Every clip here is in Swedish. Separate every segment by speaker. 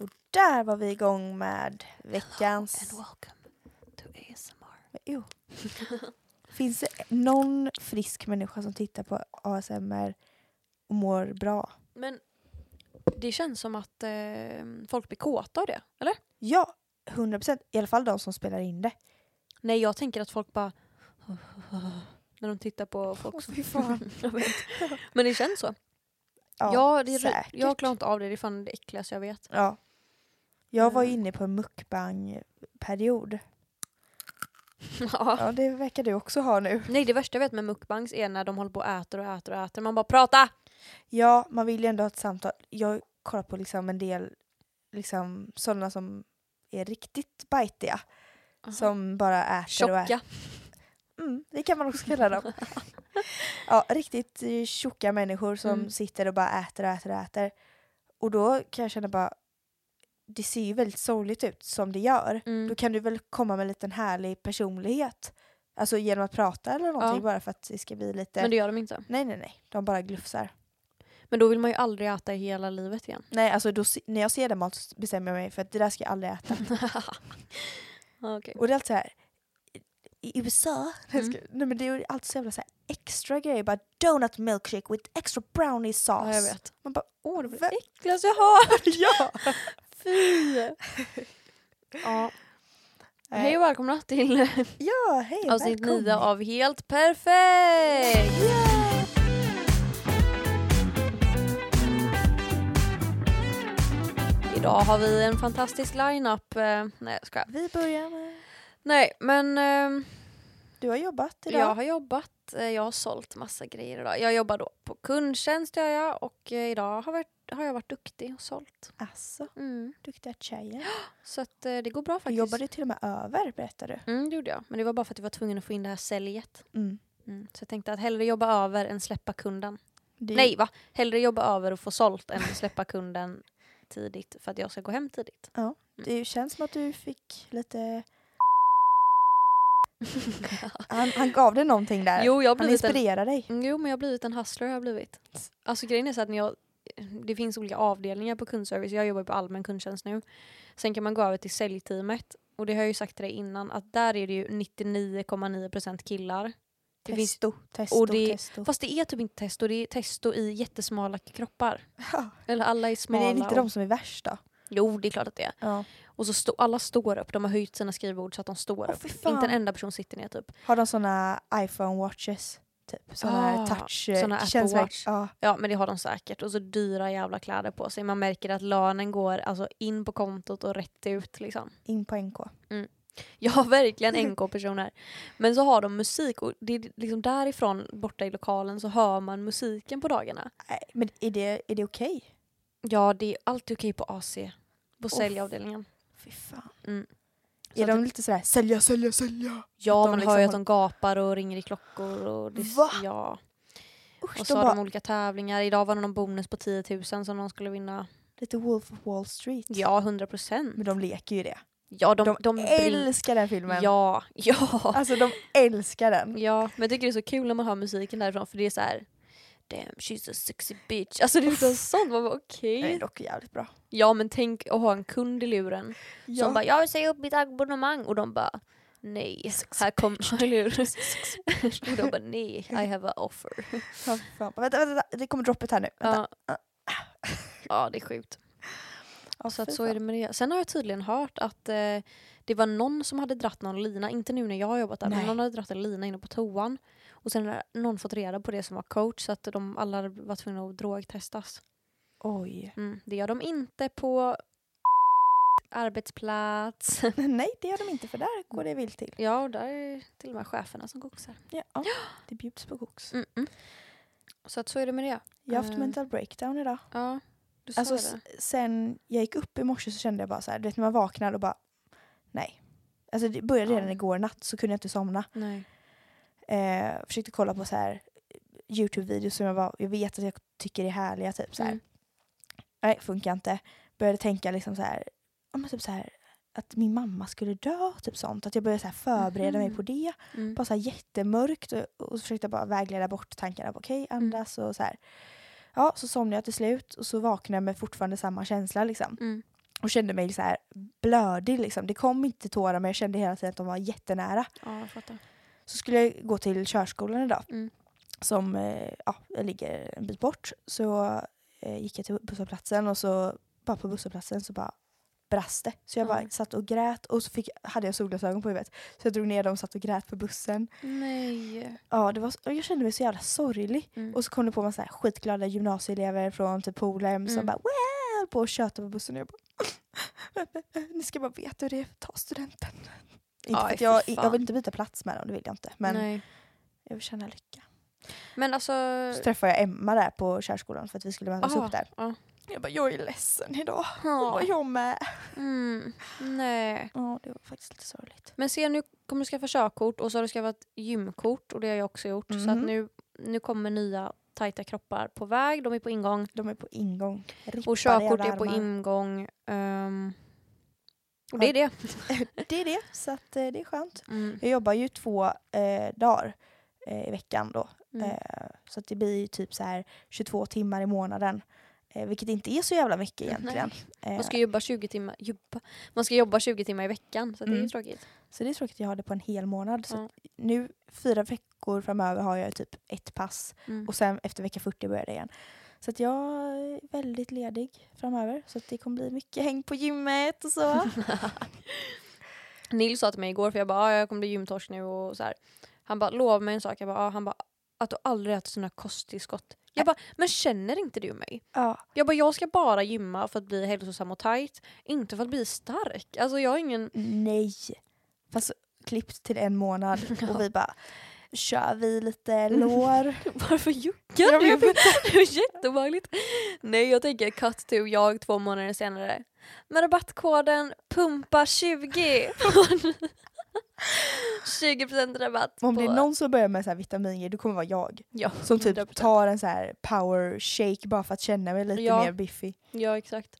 Speaker 1: Och där var vi igång med veckans...
Speaker 2: And welcome to ASMR.
Speaker 1: Jo. Finns det någon frisk människa som tittar på ASMR och mår bra?
Speaker 2: Men det känns som att eh, folk blir kåta av det, eller?
Speaker 1: Ja, 100 procent. I alla fall de som spelar in det.
Speaker 2: Nej, jag tänker att folk bara... När de tittar på folk
Speaker 1: Åh,
Speaker 2: som...
Speaker 1: fy fan.
Speaker 2: jag vet. Men det känns så.
Speaker 1: Ja,
Speaker 2: Ja, det är,
Speaker 1: säkert.
Speaker 2: jag klarar inte av det. Det är fan det äckligaste jag vet.
Speaker 1: Ja. Jag var ju
Speaker 2: Mm.
Speaker 1: inne på en mukbang-period.
Speaker 2: ja.
Speaker 1: Ja, det verkar du också ha nu.
Speaker 2: Nej, det värsta jag vet med mukbangs är när de håller på och äter och äter och äter. Man bara prata!
Speaker 1: Ja, man vill ju ändå ha ett samtal. Jag kollar på liksom en del liksom sådana som är riktigt bajtiga. Som bara äter och äter.
Speaker 2: Tjocka.
Speaker 1: Mm, det kan man också kalla dem. ja, riktigt eh, tjocka människor som
Speaker 2: Mm.
Speaker 1: sitter och bara äter och äter och äter. Och då kan jag känna bara, det ser ju väldigt sorgligt ut som det gör.
Speaker 2: Mm.
Speaker 1: Då kan du väl komma med en liten härlig personlighet. Alltså genom att prata eller någonting
Speaker 2: Ja.
Speaker 1: bara för att det ska bli lite...
Speaker 2: Men det gör de inte.
Speaker 1: Nej, nej, nej. De bara glufsar.
Speaker 2: Men då vill man ju aldrig äta i hela livet igen.
Speaker 1: Nej, alltså då, se- när jag ser den mat så bestämmer jag mig för att det där ska jag aldrig äta.
Speaker 2: Ja, Okej.
Speaker 1: Och det är alltid så här. I i USA,
Speaker 2: Mm.
Speaker 1: nej men det är ju alltid så jävla så här extra grejer. Bara donut milkshake with extra brownie sauce.
Speaker 2: Ja, jag vet.
Speaker 1: Man bara, åh det
Speaker 2: Det
Speaker 1: var
Speaker 2: äckligaste jag har!
Speaker 1: ja!
Speaker 2: Fy! ja. Hej och välkomna till
Speaker 1: Ja, hej,
Speaker 2: avsnitt
Speaker 1: välkommen.
Speaker 2: 9 av Helt Perfekt!
Speaker 1: Yeah!
Speaker 2: Idag har vi en fantastisk line-up. Eh, nej, jag skojar.
Speaker 1: Vi börjar med,
Speaker 2: Nej, men ehm,
Speaker 1: du har jobbat idag.
Speaker 2: Jag har jobbat, eh, jag har sålt massa grejer idag. Jag jobbar då på kundtjänst gör jag och eh, idag har, varit, har jag varit duktig och sålt.
Speaker 1: Alltså,
Speaker 2: Mm.
Speaker 1: duktiga tjejer.
Speaker 2: Så att eh, det går bra
Speaker 1: Du
Speaker 2: faktiskt.
Speaker 1: jobbade till och med över berättar du.
Speaker 2: Mm, det gjorde jag. Men det var bara för att jag var tvungen att få in det här säljet.
Speaker 1: Mm.
Speaker 2: Mm. Så jag tänkte att hellre jobba över än släppa kunden.
Speaker 1: Det-
Speaker 2: Nej va? Hellre jobba över och få sålt än släppa kunden tidigt för att jag ska gå hem tidigt.
Speaker 1: Det känns som att du fick lite... Han, han gav dig någonting där.
Speaker 2: Jo, jag har
Speaker 1: han
Speaker 2: blivit en
Speaker 1: inspirerar dig.
Speaker 2: Mm, Jo, men jag har blivit en hustler. Har jag blivit. Alltså grejen är så att när jag, det finns olika avdelningar på kundservice. Jag jobbar ju på allmän kundtjänst nu. Sen kan man gå över till säljteamet. Och det har jag ju sagt till dig innan att där är det ju 99,9% killar. Det finns,
Speaker 1: Testo, testo,
Speaker 2: och det-
Speaker 1: testo.
Speaker 2: fast det är typ inte testo, det är testo i jättesmala kroppar.
Speaker 1: Ja.
Speaker 2: Eller alla är
Speaker 1: Men
Speaker 2: smala.
Speaker 1: är det inte
Speaker 2: och,
Speaker 1: de som är värst då?
Speaker 2: Jo, det är klart att det är.
Speaker 1: Ja.
Speaker 2: Och så stå, alla står upp, de har höjt sina skrivbord så att de står
Speaker 1: Åh,
Speaker 2: upp.
Speaker 1: fy fan.
Speaker 2: Inte en enda person sitter ner typ.
Speaker 1: Har de såna iPhone watches? Typ såna här
Speaker 2: Ah,
Speaker 1: touch...
Speaker 2: såna Apple
Speaker 1: känns verk-
Speaker 2: Watch.
Speaker 1: Ja.
Speaker 2: Ja men det har de säkert. Och så dyra jävla kläder på sig. Man märker att lönen går alltså, in på kontot och rätt ut liksom.
Speaker 1: In på NK.
Speaker 2: Jag har verkligen NK-personer. Men så har de musik och det är liksom därifrån borta i lokalen så hör man musiken på dagarna.
Speaker 1: Nej, men är det, är det okej?
Speaker 2: Ja det är alltid okej på AC. På säljavdelningen.
Speaker 1: Fy fan.
Speaker 2: Mm. Så
Speaker 1: Är
Speaker 2: att
Speaker 1: de
Speaker 2: det-
Speaker 1: lite sådär sälja, sälja, sälja?
Speaker 2: Ja
Speaker 1: de
Speaker 2: man
Speaker 1: liksom
Speaker 2: hör ju att
Speaker 1: håller-
Speaker 2: de gapar och ringer i klockor. Och det,
Speaker 1: Va?
Speaker 2: Ja.
Speaker 1: Usch,
Speaker 2: Och
Speaker 1: de
Speaker 2: så har
Speaker 1: bara
Speaker 2: de olika tävlingar. Idag var det någon bonus på 10 000 som de skulle vinna.
Speaker 1: lite Wolf of Wall Street.
Speaker 2: Ja 100 procent.
Speaker 1: Men de leker ju det.
Speaker 2: Ja de,
Speaker 1: De,
Speaker 2: de, de brin-
Speaker 1: älskar den filmen.
Speaker 2: Ja, ja.
Speaker 1: Alltså de älskar den.
Speaker 2: Ja, men jag tycker det är så kul när man hör musiken därifrån för det är så här Damn, she's a sexy bitch. Alltså det är liksom sånt. Man bara okej.
Speaker 1: Den är dock jävligt bra.
Speaker 2: Ja men tänk att ha en kund i luren
Speaker 1: Ja.
Speaker 2: som bara jag vill säga upp mitt abonnemang och de bara nej, här kommer eller hur? Och de bara nej, I have a offer.
Speaker 1: Ja, fy fan. Vänta, vänta, vänta, det kommer droppet här nu. Vänta.
Speaker 2: Ja. ja det är sjukt.
Speaker 1: Ja,
Speaker 2: Så, att
Speaker 1: fy
Speaker 2: så är
Speaker 1: fan.
Speaker 2: det med det. Sen har jag tydligen hört att eh, det var någon som hade dratt någon lina, inte nu när jag har jobbat där,
Speaker 1: Nej.
Speaker 2: men någon hade dratt en lina inne på toan. Och sen har någon fått reda på det som var coach så att de alla var tvungna att drogtestas.
Speaker 1: Oj.
Speaker 2: Mm, det gör de inte på arbetsplats.
Speaker 1: Nej, det gör de inte för där går det vilt till.
Speaker 2: Ja, och där är till och med cheferna som koksar.
Speaker 1: Ja. Det bjuds på koks.
Speaker 2: Mm -mm. Så att så är det med det.
Speaker 1: Jag har haft
Speaker 2: Eh.
Speaker 1: mental breakdown idag.
Speaker 2: Ja, du sa
Speaker 1: Alltså
Speaker 2: det.
Speaker 1: s- sen jag gick upp i morse så kände jag bara så här, du vet när man vaknar och bara nej. Alltså det började
Speaker 2: Ja.
Speaker 1: redan igår natt så kunde jag inte somna.
Speaker 2: Nej.
Speaker 1: Eh, försökte kolla på så här eh, Youtube-videos som jag, bara, jag vet att jag tycker är härliga typ så här.
Speaker 2: Mm.
Speaker 1: Nej, funkar inte. Började tänka liksom så här, ja, men typ så här att min mamma skulle dö, typ sånt. Att jag började så här förbereda mig
Speaker 2: Mhm.
Speaker 1: på det.
Speaker 2: Mm.
Speaker 1: Bara så här jättemörkt och, och så försökte jag bara vägleda bort tankarna. på, Okej, andas och så här. Ja, så somnade jag till slut och så vaknade jag med fortfarande samma känsla liksom.
Speaker 2: Mm.
Speaker 1: och kände mig så här blödig liksom. Det kom inte tårar men jag kände hela tiden att de var jättenära.
Speaker 2: Ja, jag fattar.
Speaker 1: Så skulle jag gå till körskolan idag
Speaker 2: Mm.
Speaker 1: som eh, ja, ligger en bit bort. Så eh, gick jag till busshållplatsen och så bara på busshållplatsen så bara brast det. Så jag bara
Speaker 2: Mm.
Speaker 1: satt och grät och så fick, hade jag solglasögon på huvudet. Så jag drog ner dem och satt och grät på bussen.
Speaker 2: Nej.
Speaker 1: Ja, det var, så- och jag kände mig så jävla sorglig.
Speaker 2: Mm.
Speaker 1: Och så kom det på en massa här skitglada gymnasieelever från typ Polhem som
Speaker 2: Mm.
Speaker 1: bara wow! på och tjötade på bussen. Och jag bara ni ska bara veta hur det är att ta studenten. Inte för
Speaker 2: Aj,
Speaker 1: att jag,
Speaker 2: fy fan.
Speaker 1: jag vill inte byta plats med dem, det vill jag inte. Men
Speaker 2: Nej.
Speaker 1: jag vill känna lycka.
Speaker 2: Men alltså...
Speaker 1: Så träffade jag Emma där på körskolan för att vi skulle mötas
Speaker 2: Aha,
Speaker 1: upp där.
Speaker 2: Ah, ja. Ah.
Speaker 1: Jag bara, jag är ledsen idag. Hon
Speaker 2: Ja.
Speaker 1: bara, jag med.
Speaker 2: Mm. Nej.
Speaker 1: Ja, det var faktiskt lite sorgligt.
Speaker 2: Men se nu kommer du skaffa körkort och så har du skaffat gymkort och det har jag också gjort. Så att
Speaker 1: Mhm.
Speaker 2: nu, nu kommer nya tajta kroppar på väg, de är på ingång.
Speaker 1: De är på ingång. Rippade
Speaker 2: Och körkort
Speaker 1: jävla
Speaker 2: är på
Speaker 1: armar.
Speaker 2: ingång. ehm,
Speaker 1: Ja.
Speaker 2: och det är det.
Speaker 1: Det är det, så att, eh, det är skönt.
Speaker 2: Mm.
Speaker 1: Jag jobbar ju två eh, dagar eh, i veckan då.
Speaker 2: Mm.
Speaker 1: Eh, så att det blir ju typ så här 22 timmar i månaden. Eh, vilket inte är så jävla mycket egentligen. Eh,
Speaker 2: Man ska jobba 20 timmar, jobba. Man ska jobba 20 timmar i veckan så det är ju
Speaker 1: Mm.
Speaker 2: tråkigt.
Speaker 1: Så det är tråkigt att jag har det på en hel månad. Så
Speaker 2: Ja.
Speaker 1: att nu fyra veckor framöver har jag typ ett pass
Speaker 2: Mm.
Speaker 1: Och sen efter vecka 40 börjar det igen. Så att jag är väldigt ledig framöver. Så att det kommer bli mycket häng på gymmet och så.
Speaker 2: Nils sa till mig igår, för jag bara ah, jag kommer bli gymtorsk nu och så här. Han bara lov mig en sak, jag bara, ah, han bara att du aldrig äter såna kosttillskott. Jag bara men känner inte du mig?
Speaker 1: ja.
Speaker 2: Jag bara jag ska bara gymma för att bli hälsosam och tight, inte för att bli stark. Alltså jag har ingen...
Speaker 1: Nej. Fast klippt till en månad och vi bara kör vi lite lår.
Speaker 2: Varför juckar
Speaker 1: Jag vet
Speaker 2: du? Det är jätteobehagligt. Nej jag tänker cut to jag två månader senare. Med rabattkoden PUMPA20. 20% rabatt.
Speaker 1: Om det
Speaker 2: på-
Speaker 1: är någon som börjar med så här vitaminer då kommer det vara jag.
Speaker 2: Ja,
Speaker 1: Som typ
Speaker 2: 100%.
Speaker 1: tar en så här power shake bara för att känna mig lite
Speaker 2: Ja.
Speaker 1: mer biffig.
Speaker 2: Ja exakt.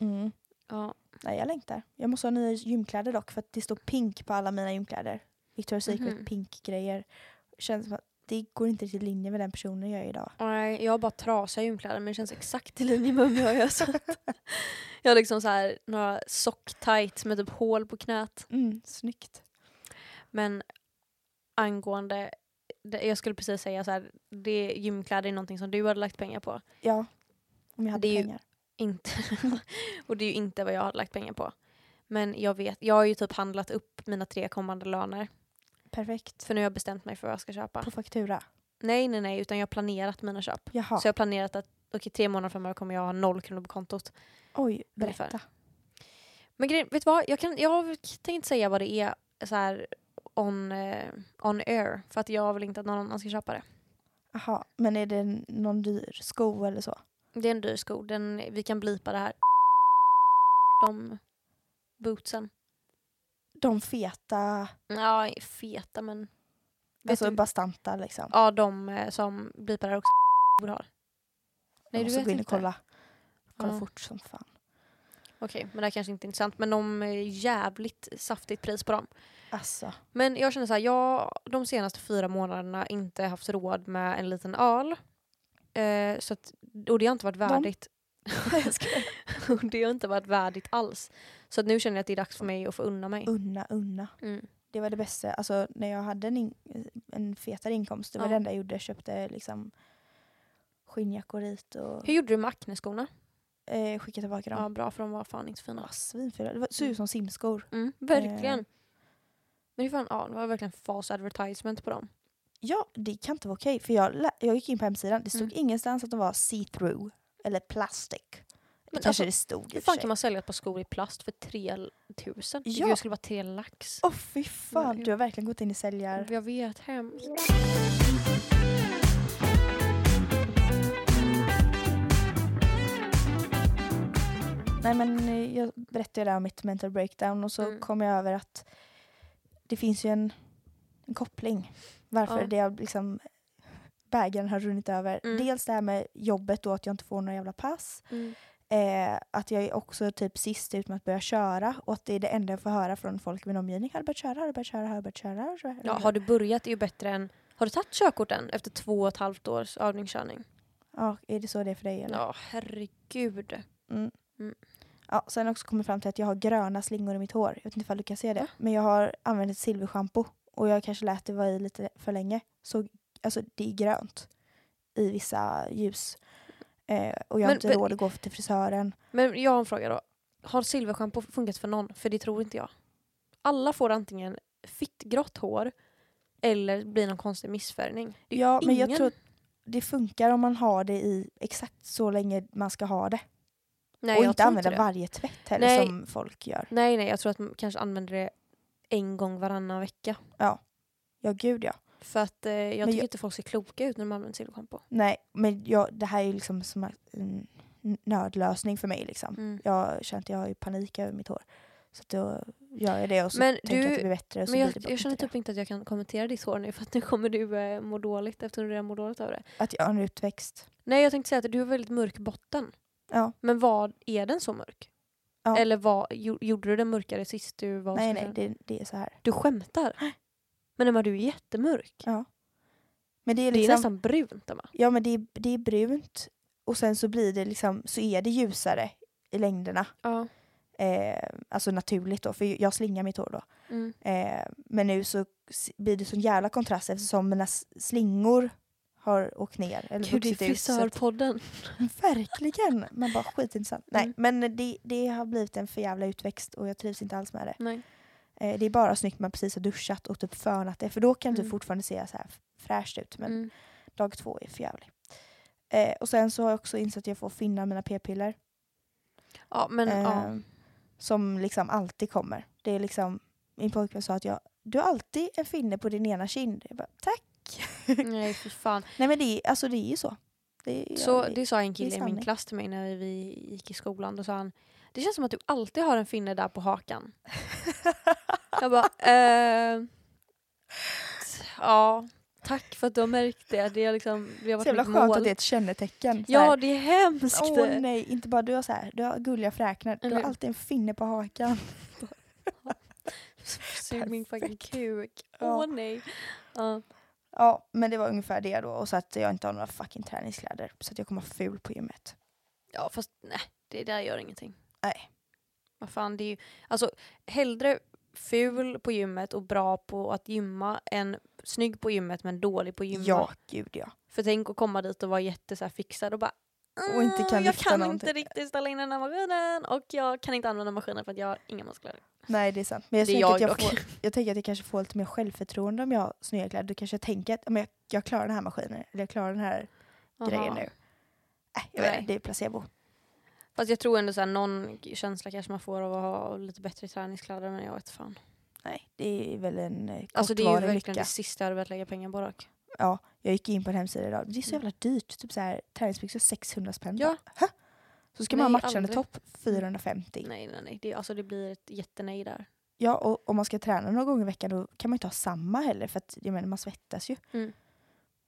Speaker 1: Mm.
Speaker 2: Ja.
Speaker 1: Nej, jag längtar. Jag måste ha nya gymkläder dock för att det står pink på alla mina gymkläder. Victoria's Secret
Speaker 2: Mhm.
Speaker 1: pink-grejer. Känns som att det går inte riktigt i linje med den personen jag är idag.
Speaker 2: Nej, jag har bara trasiga gymkläder men det känns exakt i linje med mig jag så att- Jag har liksom så här några socktights med typ hål på knät.
Speaker 1: Mm, snyggt.
Speaker 2: Men angående, det, jag skulle precis säga så här, det gymkläder är någonting som du hade lagt pengar på.
Speaker 1: Ja, om jag hade
Speaker 2: Det är ju-
Speaker 1: pengar.
Speaker 2: Inte, och det är ju inte vad jag hade lagt pengar på. Men jag vet, jag har ju typ handlat upp mina tre kommande löner.
Speaker 1: Perfekt.
Speaker 2: För nu har jag bestämt mig för vad jag ska köpa.
Speaker 1: På faktura.
Speaker 2: Nej, nej, nej, utan jag har planerat mina köp.
Speaker 1: Jaha.
Speaker 2: Så jag har planerat att okej, tre månader framöver kommer jag ha noll kronor på kontot.
Speaker 1: Oj,
Speaker 2: Ungefär.
Speaker 1: berätta.
Speaker 2: Men grejen, vet du vad? Jag, kan, jag tänkte inte säga vad det är så här on, eh, on air. För att jag vill inte att någon annan ska köpa det.
Speaker 1: Jaha, men är det n- någon dyr sko eller så?
Speaker 2: Det är en dyr sko. Den, vi kan blipa det här. De bootsen.
Speaker 1: De feta,
Speaker 2: Ja, feta men... Vet
Speaker 1: alltså
Speaker 2: du?
Speaker 1: bastanta liksom.
Speaker 2: Ja, de eh, som blipar det här också har.
Speaker 1: jag
Speaker 2: Nej, du
Speaker 1: måste
Speaker 2: vet
Speaker 1: gå in och
Speaker 2: inte.
Speaker 1: kolla. Kolla
Speaker 2: Ja.
Speaker 1: fort som fan.
Speaker 2: Okej, men det här kanske inte är intressant. Men de är jävligt saftigt pris på dem.
Speaker 1: Alltså,
Speaker 2: Men jag känner så här, jag de senaste fyra månaderna inte haft råd med en liten öl. Eh, så att, och det har inte varit värdigt. Och det har inte varit värdigt alls. Så att nu känner jag att det är dags för mig att få unna mig.
Speaker 1: unna, unna.
Speaker 2: Mm.
Speaker 1: Det var det bästa. Alltså när jag hade en, in- en fetare inkomst, det var
Speaker 2: Ja.
Speaker 1: det enda jag gjorde. Jag köpte liksom skinnjackor hit och
Speaker 2: Hur gjorde du med Acne-skorna?
Speaker 1: eh, skickade tillbaka dem.
Speaker 2: Ja, bra för de var fan inte så
Speaker 1: De
Speaker 2: fina.
Speaker 1: var svinfula. Det var- såg ut som simskor.
Speaker 2: Mm, verkligen. Men det, fan, ja, det var verkligen false advertisement på dem.
Speaker 1: Ja, det kan inte vara okej. För jag, lä- jag gick in på hemsidan, det stod
Speaker 2: Mm.
Speaker 1: ingenstans att de var see-through. Eller plastic.
Speaker 2: Men
Speaker 1: Kanske
Speaker 2: alltså,
Speaker 1: det stod i
Speaker 2: hur
Speaker 1: och för
Speaker 2: fan
Speaker 1: sig.
Speaker 2: kan man sälja ett par skor i plast för 3000?
Speaker 1: Ja.
Speaker 2: Det skulle vara 3 lax.
Speaker 1: Åh fy fan,
Speaker 2: Ja, ja.
Speaker 1: du har verkligen gått in i säljar...
Speaker 2: Jag vet, hemskt.
Speaker 1: Nej men eh, jag berättade ju där om mitt mental breakdown och så
Speaker 2: Mm.
Speaker 1: kom jag över att det finns ju en, en koppling. Varför
Speaker 2: Ja.
Speaker 1: det har liksom bägaren har runnit över.
Speaker 2: Mm.
Speaker 1: Dels det här med jobbet då, att jag inte får några jävla pass.
Speaker 2: Mm.
Speaker 1: Eh, att jag är också typ sist ut med att börja köra och att det är det enda jag får höra från folk i min omgivning. Har du börjat köra? Har du börjat köra? Har du börjat köra? Har du börjat köra?
Speaker 2: Ja, har du börjat är ju bättre än... Har du tagit körkort än efter två och ett halvt års övningskörning?
Speaker 1: Ja, är det så det är för dig? Eller?
Speaker 2: Ja, herregud.
Speaker 1: Mm.
Speaker 2: Mm.
Speaker 1: Ja, sen har jag också kommit fram till att jag har gröna slingor i mitt hår. Jag vet inte ifall du kan se det. Men jag har använt ett silverschampo och jag kanske lät det vara i lite för länge. Så alltså, det är grönt i vissa ljus. Eh, och jag har
Speaker 2: Men-
Speaker 1: inte
Speaker 2: men-
Speaker 1: råd att gå till frisören.
Speaker 2: Men jag har en fråga då. Har silverschampo funkat för någon? För det tror inte jag. Alla får antingen fittgrått hår eller blir någon konstig missfärgning. Det är ju
Speaker 1: Ja, men jag
Speaker 2: ingen-
Speaker 1: tror att det funkar om man har det i exakt så länge man ska ha det.
Speaker 2: Nej,
Speaker 1: och
Speaker 2: jag
Speaker 1: inte
Speaker 2: tror
Speaker 1: använda
Speaker 2: det.
Speaker 1: varje tvätt heller
Speaker 2: Nej.
Speaker 1: som folk gör.
Speaker 2: Nej, nej, jag tror att man kanske använder det en gång varannan vecka.
Speaker 1: Ja, gud ja.
Speaker 2: För att eh, jag tycker
Speaker 1: jag-
Speaker 2: inte folk ser kloka ut när de använder silverschampo.
Speaker 1: Nej, men jag, det här är ju liksom som en nödlösning för mig. Liksom.
Speaker 2: Mm.
Speaker 1: Jag känner att jag har ju panik över mitt hår. Så att då gör jag det och så
Speaker 2: Men
Speaker 1: tänker jag att
Speaker 2: du-
Speaker 1: det blir bättre. Och så
Speaker 2: Men jag,
Speaker 1: blir det
Speaker 2: jag känner
Speaker 1: inte
Speaker 2: typ inte att jag kan kommentera ditt hår nu för att nu kommer du eh, må dåligt eftersom du redan mår dåligt av det.
Speaker 1: det. Att jag har en utväxt.
Speaker 2: Nej, jag tänkte säga att du har väldigt mörk botten.
Speaker 1: Ja.
Speaker 2: Men vad är den så mörk?
Speaker 1: Ja.
Speaker 2: Eller vad, jo, gjorde du den mörkare sist du var hos
Speaker 1: Nej, nej,
Speaker 2: frisören?
Speaker 1: det, det är så här.
Speaker 2: Du skämtar? Men Emma, du är jättemörk.
Speaker 1: Ja. Men det är, liksom,
Speaker 2: Det är nästan brunt, Emma.
Speaker 1: Ja, men det är, det är brunt och sen så blir det liksom, så är det ljusare i längderna.
Speaker 2: Ja.
Speaker 1: Eh, alltså naturligt då, för jag slingar mitt hår då.
Speaker 2: Mm.
Speaker 1: Eh, men nu så s- blir det sån jävla kontrast eftersom mina s- slingor har åkt ner. Eller
Speaker 2: Gud, det är
Speaker 1: vuxit ut, så att-
Speaker 2: frisörpodden.
Speaker 1: Verkligen! Man bara skitintressant. Nej,
Speaker 2: Mm.
Speaker 1: men det, det har blivit en för jävla utväxt och jag trivs inte alls med det.
Speaker 2: Nej.
Speaker 1: Eh, det är bara snyggt när man precis har duschat och typ fönat det för då kan det
Speaker 2: Mm.
Speaker 1: typ fortfarande se så här fräscht ut men
Speaker 2: Mm.
Speaker 1: dag två är för jävlig. Eh, och sen så har jag också insett att jag får finna mina p-piller.
Speaker 2: Ja, men ja.
Speaker 1: Ehm, Som liksom alltid kommer. Det är liksom, min pojkvän sa att jag, du har alltid en finne på din ena kind. Jag bara, Tack! Eh,
Speaker 2: Nej, för fan.
Speaker 1: Nej men det, är- alltså, det är ju så. Det, är-
Speaker 2: Så
Speaker 1: det,
Speaker 2: det sa en
Speaker 1: det
Speaker 2: kille
Speaker 1: är
Speaker 2: i min
Speaker 1: sanning.
Speaker 2: klass till mig när vi gick i skolan. Då sa han, det känns som att du alltid har en finne där på hakan. Jag bara, eh, t- ja, tack för att du har märkt det. Det har, liksom, det har
Speaker 1: så
Speaker 2: varit
Speaker 1: jävla
Speaker 2: mitt
Speaker 1: skönt
Speaker 2: mål.
Speaker 1: att det är ett kännetecken. Så
Speaker 2: Ja,
Speaker 1: här,
Speaker 2: det är hemskt.
Speaker 1: Åh nej, inte bara du har så här, du har gulliga fräknar, du
Speaker 2: Eller
Speaker 1: har
Speaker 2: hur?
Speaker 1: alltid en finne på hakan.
Speaker 2: Sug min fucking kuk. Åh
Speaker 1: Ja.
Speaker 2: nej. Ja.
Speaker 1: Ja, men det var ungefär det då. Och så att jag inte har några fucking träningskläder. Så att jag kommer vara ful på gymmet.
Speaker 2: ja, fast nej, det där gör ingenting.
Speaker 1: Nej.
Speaker 2: Vad fan, det är ju, alltså hellre ful på gymmet och bra på att gymma än snygg på gymmet men dålig på gymma.
Speaker 1: Ja, gud ja.
Speaker 2: För tänk att komma dit och vara jätte så här, fixad och bara
Speaker 1: Och inte kan
Speaker 2: "Mm, Jag
Speaker 1: lyfta
Speaker 2: kan
Speaker 1: någonting."
Speaker 2: inte riktigt ställa in den här maskinen och jag kan inte använda maskinen för att jag har inga muskler.
Speaker 1: Nej, det är sant. Men jag,
Speaker 2: Det är
Speaker 1: tänker att
Speaker 2: jag
Speaker 1: jag,
Speaker 2: dock.
Speaker 1: får, jag tänker att jag kanske får lite mer självförtroende om jag har snygga kläder. Då kanske jag tänker att ja, men jag, jag klarar den här maskinen. Eller jag klarar den här grejen nu. Äh, jag vet
Speaker 2: Nej.
Speaker 1: inte, det är placebo.
Speaker 2: Fast jag tror ändå så här, någon känsla kanske man får av att ha lite bättre träningskläder men jag vet fan.
Speaker 1: Nej, det är väl en eh,
Speaker 2: Alltså det är ju
Speaker 1: kortvarig
Speaker 2: verkligen
Speaker 1: lycka.
Speaker 2: det sista jag hade velat lägga pengar på dock.
Speaker 1: Ja, jag gick in på en hemsida idag. Det är så
Speaker 2: Mm.
Speaker 1: jävla dyrt. Typ så här, träningsbyxor 600 spänn.
Speaker 2: Ja.
Speaker 1: Hä? Så ska man ha
Speaker 2: Nej,
Speaker 1: matchande
Speaker 2: aldrig. Mm.
Speaker 1: topp 450.
Speaker 2: Nej nej nej, det, alltså det blir ett jättenej där.
Speaker 1: Ja, och om man ska träna några gånger i veckan då kan man ju inte ha samma heller för att jag menar, man svettas ju.
Speaker 2: Mm.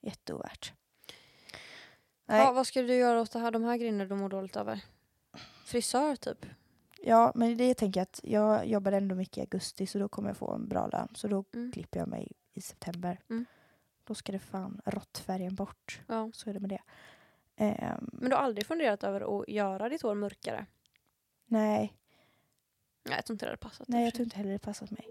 Speaker 1: Jätteovärt. Nej,
Speaker 2: Ja,
Speaker 1: ja.
Speaker 2: vad ska du göra åt det här, de här grejerna du mår dåligt över? Frisör typ?
Speaker 1: men det tänker jag att jag jobbar ändå mycket i augusti så då kommer jag få en bra lön. Så då
Speaker 2: Mm.
Speaker 1: klipper jag mig i september.
Speaker 2: Mm.
Speaker 1: Då ska det fan råttfärgen bort.
Speaker 2: Ja.
Speaker 1: Så är det med det. Ehm,
Speaker 2: Men du har aldrig funderat över att göra ditt hår mörkare?
Speaker 1: nej,
Speaker 2: Nej, jag tror inte det hade passat. i
Speaker 1: nej,
Speaker 2: och
Speaker 1: jag
Speaker 2: för sig.
Speaker 1: tror inte heller det passat mig.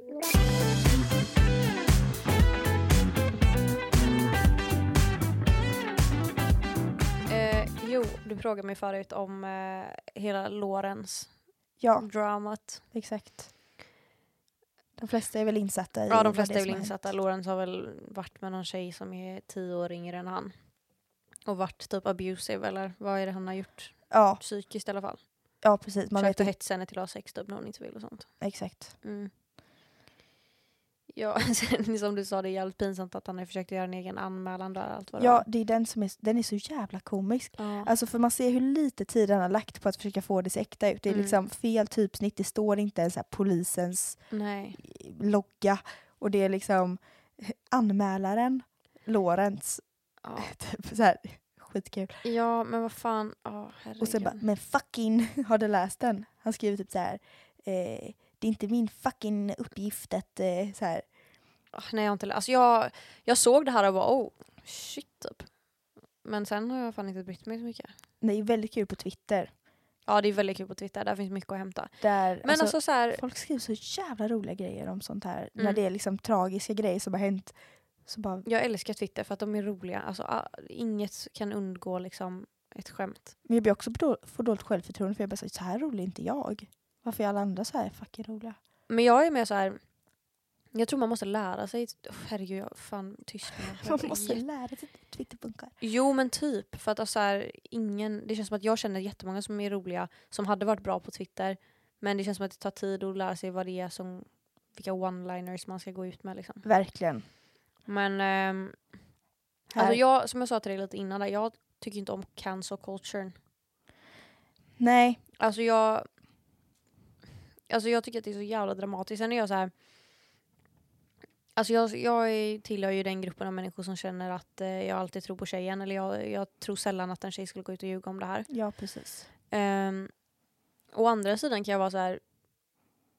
Speaker 2: Eh, jo, du frågade mig förut om eh, hela Lorens-dramat.
Speaker 1: Ja, exakt. De flesta är väl insatta i
Speaker 2: Ja, de
Speaker 1: vad
Speaker 2: flesta
Speaker 1: det
Speaker 2: är väl
Speaker 1: som har
Speaker 2: insatta.
Speaker 1: hänt.
Speaker 2: Lorentz har väl varit med någon tjej som är tio år yngre än han. Och varit typ abusive eller vad är det han har gjort?
Speaker 1: Ja,
Speaker 2: Psykiskt i alla fall.
Speaker 1: ja, precis. Man
Speaker 2: Försökt
Speaker 1: vet
Speaker 2: att
Speaker 1: inte
Speaker 2: hetsa henne till att ha sex typ när hon inte vill och sånt.
Speaker 1: exakt.
Speaker 2: Mm. Ja, sen, som du sa, det är jävligt pinsamt att han har försökt göra en egen anmälan där. Allt vad det
Speaker 1: Ja,
Speaker 2: var.
Speaker 1: det är den som är, den är så jävla komisk.
Speaker 2: ja.
Speaker 1: Alltså för man ser hur lite tid han har lagt på att försöka få det se äkta ut. Det är
Speaker 2: Mm.
Speaker 1: liksom fel typsnitt, det står inte ens så här polisens
Speaker 2: Nej.
Speaker 1: eh, logga. Och det är liksom anmälaren, Lorentz.
Speaker 2: Ja.
Speaker 1: Typ så här, skitkul.
Speaker 2: ja, men vad fan. Ja, herregud.
Speaker 1: Och sen bara, men fucking, har du läst den? Han skriver typ så här, eh, det är inte min fucking uppgift att eh, så här.
Speaker 2: Ah, nej, jag har inte lä- alltså, jag, jag såg det här och var oh, shit typ. Men sen har jag fan inte brytt mig så mycket.
Speaker 1: Det är väldigt kul på Twitter.
Speaker 2: Ja det är väldigt kul på Twitter, där finns mycket att hämta.
Speaker 1: Där,
Speaker 2: Men alltså, så här,
Speaker 1: Folk skriver så jävla roliga grejer om sånt här. När
Speaker 2: Mm.
Speaker 1: det är liksom tragiska grejer som har hänt. Så bara,
Speaker 2: jag älskar Twitter för att de är roliga. Alltså, ah, inget kan undgå liksom, ett skämt.
Speaker 1: men jag blir också då, får dåligt självförtroende för jag bara så, så här rolig är inte jag. Varför är alla andra så här fucking roliga?
Speaker 2: Men jag är med så här. Jag tror man måste lära sig. Åh, herregud, jag fan tyst nu.
Speaker 1: Man måste lära sig att Twitter funkar.
Speaker 2: Jo men typ. För att alltså, så här, ingen, det känns som att jag känner jättemånga som är roliga, som hade varit bra på Twitter. Men det känns som att det tar tid att lära sig vad det är som, vilka one-liners man ska gå ut med liksom.
Speaker 1: Verkligen.
Speaker 2: Men ehm, alltså
Speaker 1: Här.
Speaker 2: jag, som jag sa till dig lite innan, där, jag tycker inte om cancel culturen.
Speaker 1: Nej.
Speaker 2: Alltså jag, alltså jag tycker att det är så jävla dramatiskt. Sen är jag så här, alltså jag, jag är, tillhör ju den gruppen av människor som känner att eh, jag alltid tror på tjejen. Eller jag, jag tror sällan att en tjej skulle gå ut och ljuga om det här.
Speaker 1: Ja, precis.
Speaker 2: Ehm, å andra sidan kan jag vara så här,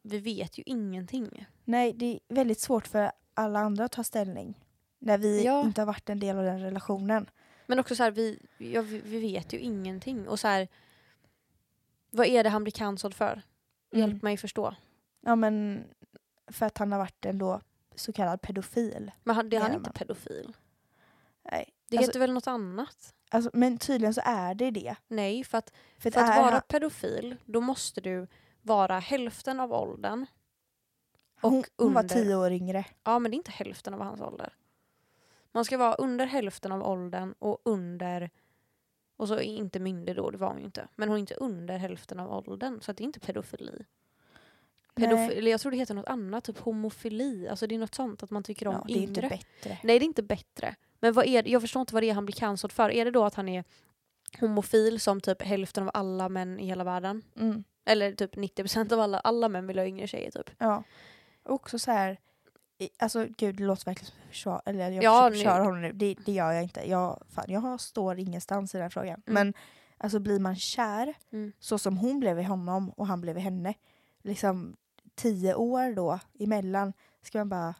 Speaker 2: vi vet ju ingenting.
Speaker 1: Nej, det är väldigt svårt för alla andra att ta ställning. När vi
Speaker 2: Ja.
Speaker 1: inte har varit en del av den relationen.
Speaker 2: Men också så här, vi, ja, vi, vi vet ju ingenting. Och så här, vad är det han blir cancelled för?
Speaker 1: Mm.
Speaker 2: Hjälp mig förstå.
Speaker 1: Ja, men för att han har varit en då så kallad pedofil.
Speaker 2: Men han, det, han är
Speaker 1: Ja,
Speaker 2: inte
Speaker 1: men-
Speaker 2: pedofil.
Speaker 1: Nej.
Speaker 2: Det
Speaker 1: Alltså-
Speaker 2: heter väl något annat?
Speaker 1: Alltså, men tydligen så är det det.
Speaker 2: Nej, för att,
Speaker 1: För,
Speaker 2: för att
Speaker 1: är
Speaker 2: vara
Speaker 1: han-
Speaker 2: pedofil då måste du vara hälften av åldern. och
Speaker 1: hon, hon var
Speaker 2: under-
Speaker 1: tio år yngre.
Speaker 2: Ja, men det är inte hälften av hans ålder. Man ska vara under hälften av åldern och under... Och så är inte myndig då, det var hon ju inte. Men hon är inte under hälften av åldern, så att det är inte pedofili.
Speaker 1: Nej.
Speaker 2: pedofili jag tror det heter något annat, typ homofili. Alltså det är något sånt, att man tycker om
Speaker 1: Ja, det är
Speaker 2: yngre.
Speaker 1: inte bättre.
Speaker 2: Nej, det är inte bättre. Men vad är det? jag förstår inte vad det är han blir cancelled för. Är det då att han är homofil som typ hälften av alla män i hela världen?
Speaker 1: Mm.
Speaker 2: Eller typ 90% av alla, alla män vill ha yngre tjejer typ.
Speaker 1: Ja. Och också så här, i- alltså gud det låter verkligen som ett försvar, eller jag
Speaker 2: Ja,
Speaker 1: försöker
Speaker 2: nu-
Speaker 1: försvara honom nu, det, det gör jag inte. Jag, fan, jag har- står ingenstans i den här frågan.
Speaker 2: Mm.
Speaker 1: Men alltså blir man kär,
Speaker 2: Mm.
Speaker 1: så som hon blev i honom och han blev i henne, liksom tio år då emellan, ska man bara,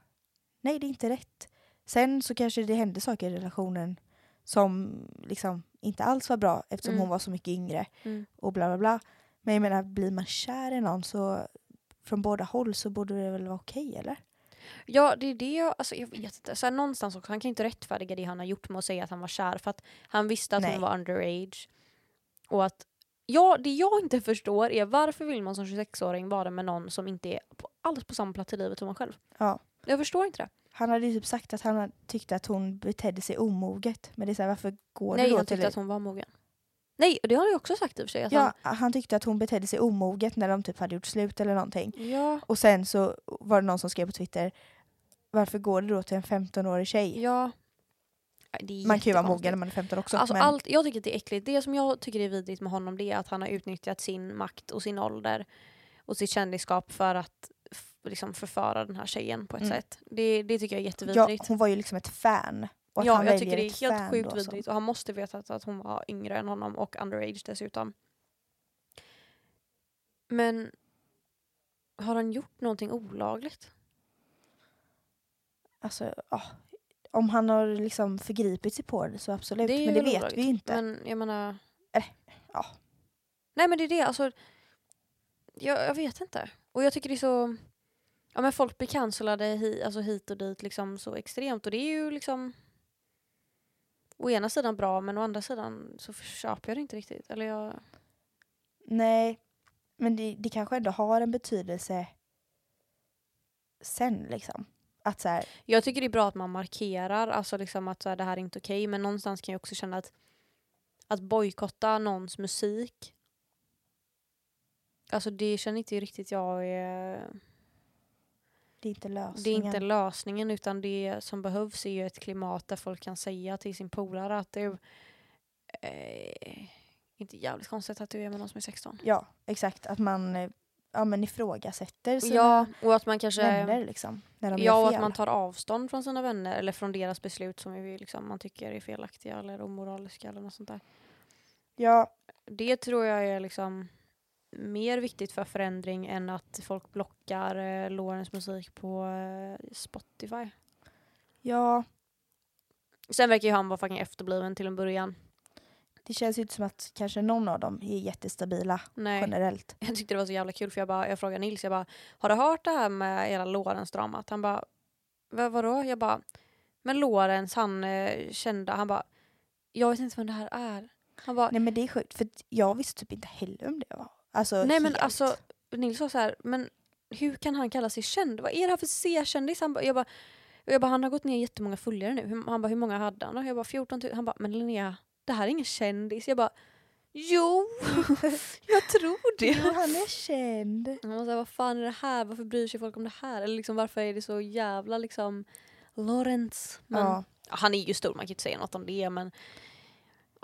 Speaker 1: nej det är inte rätt. Sen så kanske det hände saker i relationen som liksom inte alls var bra eftersom
Speaker 2: Mm.
Speaker 1: hon var så mycket yngre
Speaker 2: Mm.
Speaker 1: och bla bla bla. Men jag menar, blir man kär i någon så från båda håll så borde det väl vara okej eller?
Speaker 2: Ja, det är det jag, alltså jag vet inte. Så här, någonstans också, han kan ju inte rättfärdiga det han har gjort med att säga att han var kär för att han visste att
Speaker 1: Nej.
Speaker 2: hon var underage. Och att, ja, det jag inte förstår är varför vill man som 26-åring vara med någon som inte är på, alls på samma plats i livet som man själv?
Speaker 1: Ja.
Speaker 2: Jag förstår inte det.
Speaker 1: Han hade ju typ sagt att han hade- tyckte att hon betedde sig omoget. Men det är så här, varför går
Speaker 2: Nej,
Speaker 1: du då
Speaker 2: han
Speaker 1: till
Speaker 2: tyckte att hon var mogen. Nej, det har jag också sagt i och för sig. Att
Speaker 1: Ja, han tyckte att hon betedde sig omoget när de typ hade gjort slut eller någonting.
Speaker 2: han, ja,
Speaker 1: Och sen så var det någon som skrev på Twitter Varför går du då till en 15-årig tjej?
Speaker 2: ja. Nej, det är
Speaker 1: Man kan ju vara
Speaker 2: jättekonstigt.
Speaker 1: mogen när man är 15 också.
Speaker 2: Alltså
Speaker 1: men
Speaker 2: allt, jag tycker att det är äckligt. Det som jag tycker är vidrigt med honom det är att han har utnyttjat sin makt och sin ålder och sitt kändisskap för att f- liksom förföra den här tjejen på ett
Speaker 1: Mm.
Speaker 2: sätt. Det, det tycker jag är
Speaker 1: ja,
Speaker 2: jättevidrigt.
Speaker 1: hon var ju liksom ett fan. Och att
Speaker 2: Ja,
Speaker 1: han
Speaker 2: jag
Speaker 1: väljer
Speaker 2: tycker det
Speaker 1: ett
Speaker 2: är helt
Speaker 1: fan
Speaker 2: sjukt
Speaker 1: då, så-
Speaker 2: vidrigt och han måste veta att, att hon var yngre än honom och underage dessutom. Men har han gjort någonting olagligt?
Speaker 1: Alltså, ja. Om han har liksom förgripit sig på det så absolut.
Speaker 2: är
Speaker 1: men det
Speaker 2: väl
Speaker 1: vet
Speaker 2: olagligt.
Speaker 1: vi ju inte.
Speaker 2: Men jag menar...
Speaker 1: Eller, ja.
Speaker 2: Nej men det är det, alltså. Jag, jag vet inte. Och jag tycker det är så... Ja men folk blir cancellade hi, alltså hit och dit liksom så extremt och det är ju liksom... Å ena sidan bra men å andra sidan så köper jag det inte riktigt. Eller jag...
Speaker 1: Nej, men det, det kanske ändå har en betydelse sen liksom. Att så här,
Speaker 2: Jag tycker det är bra att man markerar, alltså liksom att så här, det här är inte okej, men någonstans kan jag också känna att att bojkotta någons musik, alltså det känner inte riktigt jag är,
Speaker 1: det är inte
Speaker 2: det är
Speaker 1: lösningen.
Speaker 2: inte lösningen utan det som behövs är ju ett klimat där folk kan säga till sin polare att du, eh, inte jävligt konstigt att du är med någon som är 16.
Speaker 1: Ja, exakt. Att man eh, ja, men ifrågasätter sina
Speaker 2: Ja, och att man kanske
Speaker 1: vänner liksom. När de
Speaker 2: Ja,
Speaker 1: gör
Speaker 2: och
Speaker 1: fel.
Speaker 2: att man tar avstånd från sina vänner eller från deras beslut som ju liksom man tycker är felaktiga eller omoraliska eller något sånt där.
Speaker 1: Ja,
Speaker 2: Det tror jag är liksom mer viktigt för förändring än att folk blockar eh, Lorens musik på eh, Spotify.
Speaker 1: ja,
Speaker 2: Sen verkar ju han vara fucking efterbliven till en början.
Speaker 1: Det känns ju inte som att kanske någon av dem är jättestabila
Speaker 2: Nej.
Speaker 1: generellt.
Speaker 2: Jag tyckte det var så jävla kul för jag, bara, jag frågade Nils, jag bara har du hört det här med hela Lorentz-dramat? Han bara "Va- vadå? Jag bara men Lorentz han eh, kände, han bara jag vet inte vem det här är. Han bara
Speaker 1: Nej men det är sjukt för att jag visste typ inte heller om det var. Alltså,
Speaker 2: nej men
Speaker 1: helt.
Speaker 2: alltså Nils sa så här men hur kan han kalla sig känd? Vad är det här för C-kändis? Han bara, jag bara jag bara, han har gått ner jättemånga följare nu. Hur- Han bara, hur många hade han då? Jag bara, 14 000. Han bara, men Linnea, det här är ingen kändis. Jag bara, jo, jag tror det.
Speaker 1: Jo, han är känd.
Speaker 2: Han var såhär, vad fan är det här? Varför bryr sig folk om det här? Eller liksom, varför är det så jävla liksom Lawrence? Men,
Speaker 1: Ja.
Speaker 2: Han är ju stor, man kan ju inte säga något om det men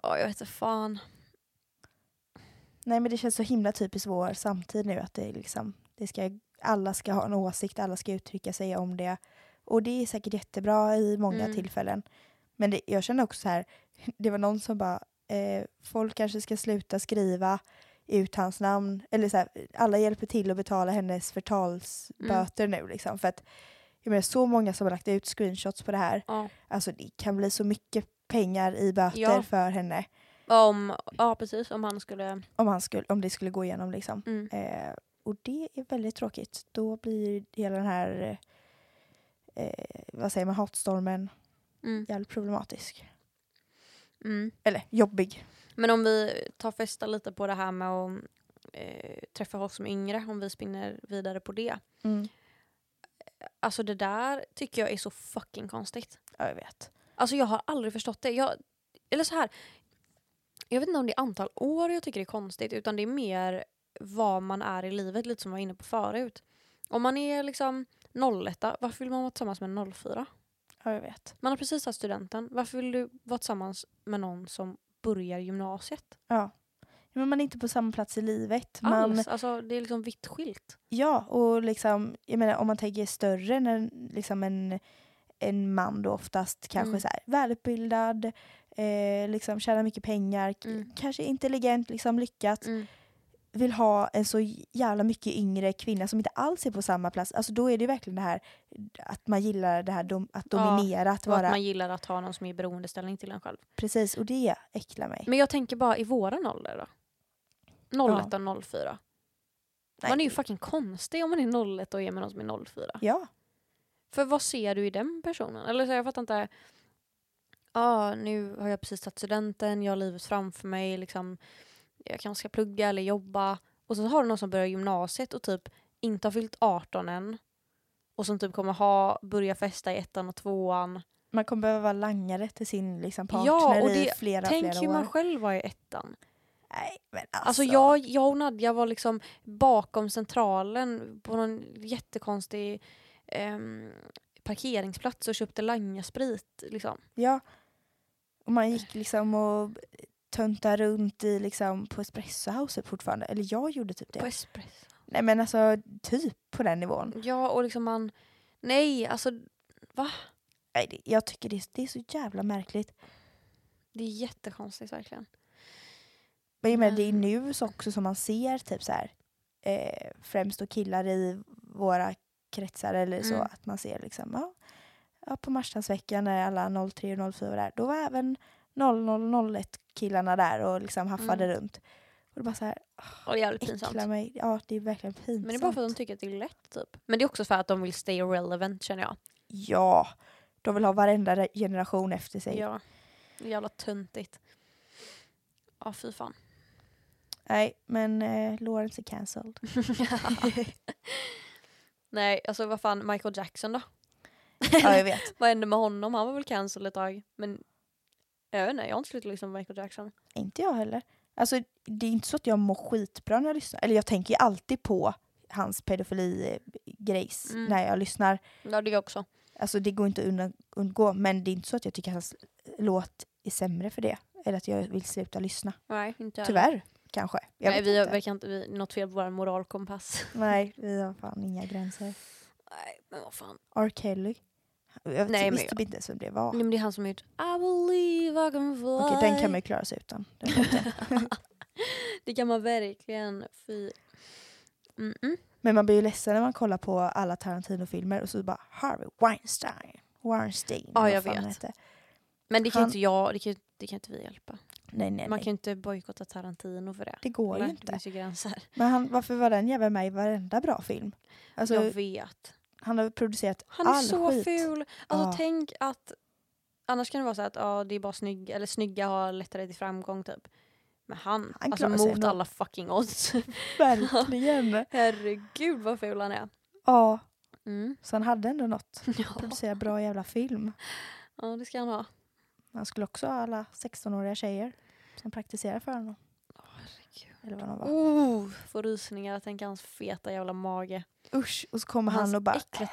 Speaker 2: ja jag vet inte fan.
Speaker 1: Nej men det känns så himla typiskt vår samtid nu att det är liksom, det ska, alla ska ha en åsikt, alla ska uttrycka sig om det. Och det är säkert jättebra i många
Speaker 2: Mm.
Speaker 1: tillfällen. Men det, jag känner också så här, det var någon som bara, eh, folk kanske ska sluta skriva ut hans namn. Eller så här, alla hjälper till att betala hennes förtalsböter
Speaker 2: Mm.
Speaker 1: nu liksom. För att jag menar, så många som har lagt ut screenshots på det här.
Speaker 2: Ja.
Speaker 1: Alltså det kan bli så mycket pengar i böter
Speaker 2: Ja.
Speaker 1: för henne
Speaker 2: Om, ja precis om han skulle,
Speaker 1: om, han skulle, om det skulle gå igenom liksom.
Speaker 2: mm,
Speaker 1: Eh, och det är väldigt tråkigt. Då blir hela den här eh, vad säger man, hatstormen
Speaker 2: mm,
Speaker 1: jävligt problematisk.
Speaker 2: mm.
Speaker 1: Eller jobbig.
Speaker 2: Men om vi tar fästa lite på det här med att eh, träffa folk som är yngre, om vi spinner vidare på det.
Speaker 1: Mm.
Speaker 2: Alltså det där tycker jag är så fucking konstigt.
Speaker 1: Ja, jag vet.
Speaker 2: Alltså jag har aldrig förstått det. Jag, eller så här. Jag vet inte om det är antal år jag tycker det är konstigt utan det är mer vad man är i livet, lite som jag var inne på förut. Om man är liksom 01, varför vill man vara tillsammans med en 04?
Speaker 1: Ja, jag vet.
Speaker 2: Man har precis tagit studenten, varför vill du vara tillsammans med någon som börjar gymnasiet?
Speaker 1: Ja. Men man är inte på samma plats i livet. Man,
Speaker 2: Alls, alltså det är liksom vitt skilt.
Speaker 1: ja, och liksom, jag menar, om man tänker större än en, liksom en, en man då oftast kanske
Speaker 2: Mm.
Speaker 1: så här, välutbildad, eh, liksom tjänar mycket pengar, k-
Speaker 2: Mm.
Speaker 1: kanske intelligent, liksom lyckat. vill ha en så jävla mycket yngre kvinna som inte alls är på samma plats, alltså då är det ju verkligen det här att man gillar det här dom, att
Speaker 2: Ja,
Speaker 1: dominera, att
Speaker 2: Och att
Speaker 1: vara...
Speaker 2: man gillar att ha någon som är i beroendeställning till en själv.
Speaker 1: Precis, och det äcklar mig.
Speaker 2: Men jag tänker bara i våran ålder då. 01 och 04.
Speaker 1: Nej.
Speaker 2: Man är ju fucking konstig om man är 01 och är med någon som är 04.
Speaker 1: Ja,
Speaker 2: För vad ser du i den personen? Eller så jag fattar inte. Ja, nu har jag precis tagit studenten, jag har livet framför mig, liksom, jag kanske ska plugga eller jobba. Och så har du någon som börjar gymnasiet och typ inte har fyllt 18 än. Och som typ kommer ha, börja festa i ettan och tvåan.
Speaker 1: man kommer behöva vara langare till sin liksom, partner
Speaker 2: Ja, och
Speaker 1: i
Speaker 2: det-
Speaker 1: flera,
Speaker 2: Tänk
Speaker 1: flera
Speaker 2: hur
Speaker 1: år.
Speaker 2: man själv var i ettan.
Speaker 1: Nej, men alltså.
Speaker 2: Alltså jag, jag och Nadja var liksom bakom centralen på någon jättekonstig ehm, parkeringsplats och köpte langasprit. Liksom.
Speaker 1: Ja. Och man gick liksom och tönta runt i, liksom, på Espresso House fortfarande. Eller jag gjorde typ det.
Speaker 2: På espresso.
Speaker 1: Nej men alltså, typ på den nivån.
Speaker 2: Ja och liksom man, nej alltså
Speaker 1: Nej, det, jag tycker det, är- det är så jävla märkligt.
Speaker 2: det är jättekonstigt verkligen.
Speaker 1: Men jag menar, det är
Speaker 2: Mm.
Speaker 1: nu så också som man ser typ så här, eh, främst då killar i våra kretsar eller så
Speaker 2: Mm.
Speaker 1: att man ser liksom ja, ja på Marstrandsveckan när alla 03 och 04 var där då var även 0001 killarna där och liksom haffade
Speaker 2: Mm.
Speaker 1: runt. Och det bara så här
Speaker 2: Och det är jävligt pinsamt.
Speaker 1: äcklar mig. Ja det är verkligen pinsamt.
Speaker 2: Men det är bara för att de tycker att det är lätt typ. Men det är också för att de vill stay relevant känner jag.
Speaker 1: Ja, de vill ha varenda re- generation efter sig.
Speaker 2: Ja. Det är Jävla töntigt. Ja fy fan.
Speaker 1: Nej men eh, Lawrence är cancelled.
Speaker 2: nej alltså vad fan Michael Jackson då?
Speaker 1: ja jag vet.
Speaker 2: Vad hände med honom? Han var väl cancel ett tag. Men jag vet inte, jag har inte slutat lyssna på Michael Jackson.
Speaker 1: Inte jag heller. Alltså det är inte så att jag mår skitbra när jag lyssnar. Eller jag tänker ju alltid på hans pedofili-grejs
Speaker 2: Mm.
Speaker 1: när jag lyssnar.
Speaker 2: Ja det är jag också.
Speaker 1: Alltså det går inte att undan- undgå. Men det är inte så att jag tycker att hans låt är sämre för det. Eller att jag vill sluta lyssna.
Speaker 2: Nej, inte jag
Speaker 1: Tyvärr, kanske. Jag
Speaker 2: Nej
Speaker 1: vet
Speaker 2: vi har-
Speaker 1: inte.
Speaker 2: verkar inte, vi, något fel på vår moralkompass.
Speaker 1: Nej, vi har fan inga gränser.
Speaker 2: Nej men vad fan.
Speaker 1: R. Kelly. Jag
Speaker 2: Nej, men
Speaker 1: visste
Speaker 2: jag-
Speaker 1: typ inte ens vem det var.
Speaker 2: Nej, men det är han som har gjort I believe I can fly.
Speaker 1: Okej, den kan man ju klara sig utan. Den låten.
Speaker 2: det kan man verkligen. Fy. Mm -mm.
Speaker 1: Men man blir ju ledsen när man kollar på alla Tarantino-filmer och så bara Harvey Weinstein. Weinstein.
Speaker 2: Ja,
Speaker 1: vad
Speaker 2: jag
Speaker 1: fan han
Speaker 2: vet.
Speaker 1: hette.
Speaker 2: Men det kan ju
Speaker 1: Han-
Speaker 2: inte jag, det kan, ju- det kan inte vi hjälpa.
Speaker 1: Nej, nej,
Speaker 2: Man
Speaker 1: nej.
Speaker 2: kan ju inte bojkotta Tarantino för det.
Speaker 1: Det går
Speaker 2: Nej,
Speaker 1: ju
Speaker 2: Det
Speaker 1: inte.
Speaker 2: finns ju gränser.
Speaker 1: Men han, varför var den jäveln med i varenda bra film? Alltså,
Speaker 2: jag vet.
Speaker 1: han har producerat
Speaker 2: Han är
Speaker 1: all
Speaker 2: så
Speaker 1: skit.
Speaker 2: ful. Alltså
Speaker 1: Ja.
Speaker 2: tänk att... Annars kan det vara så att ja, det är bara snygg, eller snygga har lättare till framgång typ. Men han,
Speaker 1: Han
Speaker 2: alltså
Speaker 1: klarar sig
Speaker 2: mot
Speaker 1: ändå.
Speaker 2: alla fucking odds.
Speaker 1: Verkligen.
Speaker 2: Herregud vad ful han är.
Speaker 1: ja,
Speaker 2: Mm.
Speaker 1: så han hade ändå något.
Speaker 2: Ja.
Speaker 1: Producera bra jävla film.
Speaker 2: ja, det ska han ha.
Speaker 1: Han skulle också ha alla 16-åriga tjejer som praktiserar för honom.
Speaker 2: herregud.
Speaker 1: Eller vad de var.
Speaker 2: Oh, får rysningar. Tänk hans feta jävla mage.
Speaker 1: Usch, och så kommer
Speaker 2: hans
Speaker 1: han och bara
Speaker 2: äckliga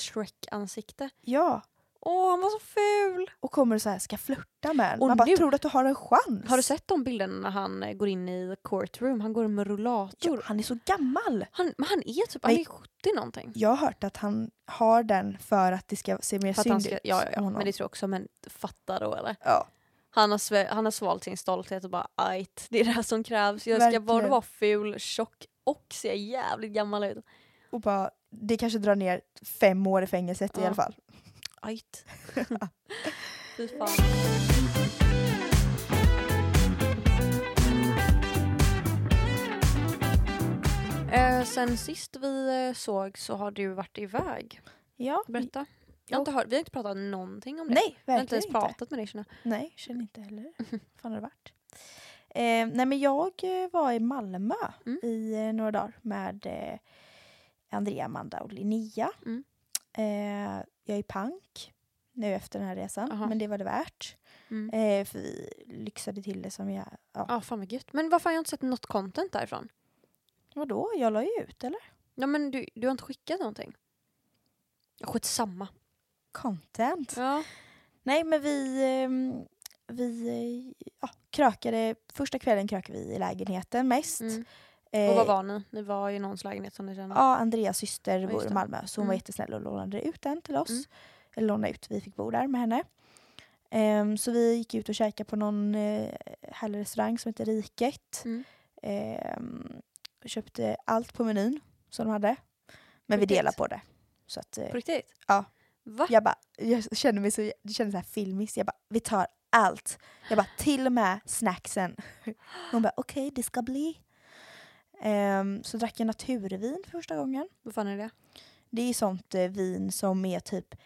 Speaker 2: troll-Shrek-ansikte.
Speaker 1: ja.
Speaker 2: Åh, han var så ful!
Speaker 1: Och kommer och så här ska flirta med en.
Speaker 2: Och
Speaker 1: Man bara,
Speaker 2: nu-
Speaker 1: tror du att du har en chans?
Speaker 2: Har du sett de bilderna när han eh, går in i the courtroom? Han går med
Speaker 1: ja,
Speaker 2: rullator.
Speaker 1: han är så gammal.
Speaker 2: Han, men han är typ han
Speaker 1: Nej.
Speaker 2: är 70 någonting.
Speaker 1: Jag har hört att han har den för att det ska se mer
Speaker 2: För att han
Speaker 1: synd
Speaker 2: ska, ja,
Speaker 1: ut
Speaker 2: ja,
Speaker 1: om
Speaker 2: ja.
Speaker 1: honom.
Speaker 2: men det tror jag också. Men fatta då eller?
Speaker 1: ja.
Speaker 2: Han har, sve- han har svalt sin stolthet och bara ajt, det är det här som krävs. Jag ska både
Speaker 1: Verkligen.
Speaker 2: vara ful, tjock och se jävligt gammal ut.
Speaker 1: Och bara, det kanske drar ner fem år i fängelset i
Speaker 2: Ja.
Speaker 1: alla fall.
Speaker 2: Ajt. Fy fan. Eh, sen sist vi eh, såg så har du varit iväg.
Speaker 1: Ja.
Speaker 2: Berätta. Jag har inte hört, vi har inte pratat någonting om det.
Speaker 1: Nej,
Speaker 2: jag har inte
Speaker 1: verkligen
Speaker 2: ens
Speaker 1: inte.
Speaker 2: pratat med dig känner jag.
Speaker 1: Nej, känner inte heller. Vad fan har det varit? Eh, nej men jag eh, var i Malmö
Speaker 2: Mm.
Speaker 1: i eh, några dagar med eh, Andrea, Amanda och Linnea.
Speaker 2: Mm.
Speaker 1: Eh, jag är pank nu efter den här resan,
Speaker 2: Aha.
Speaker 1: men det var det värt.
Speaker 2: Mm.
Speaker 1: Eh, för vi lyxade till det som jag... Ja.
Speaker 2: Ja, fan vad gött. Men varför har jag inte sett något content därifrån?
Speaker 1: Vadå, jag la ju ut eller?
Speaker 2: Ja, men du, du har inte skickat någonting? Skitsamma.
Speaker 1: Content.
Speaker 2: Ja.
Speaker 1: Nej men vi, ehm, vi eh, ja, krökade, första kvällen krökade vi i lägenheten mest.
Speaker 2: Mm.
Speaker 1: Eh,
Speaker 2: Och vad var ni? Ni var i någons lägenhet som ni kände.
Speaker 1: Ja, Andreas syster
Speaker 2: just
Speaker 1: bor i
Speaker 2: det.
Speaker 1: Malmö så hon var
Speaker 2: Mm.
Speaker 1: jättesnäll och lånade ut den till oss.
Speaker 2: Mm.
Speaker 1: Eller lånade ut, vi fick bo där med henne. Ehm, så vi gick ut och käkade på någon eh, härlig restaurang som heter Riket.
Speaker 2: Mm.
Speaker 1: Ehm, och köpte allt på menyn som de hade. Men vi
Speaker 2: Riktigt.
Speaker 1: delade på det. Så att, eh,
Speaker 2: På riktigt?
Speaker 1: Ja.
Speaker 2: Va?
Speaker 1: jag bara, jag kände mig så, det kändes så här filmiskt. Jag bara, vi tar allt. Jag bara, till och med snacksen. Hon bara, okej det ska bli. Ehm, så drack jag naturvin för första gången.
Speaker 2: Vad fan är det?
Speaker 1: Det är sånt eh, vin som är typ eh,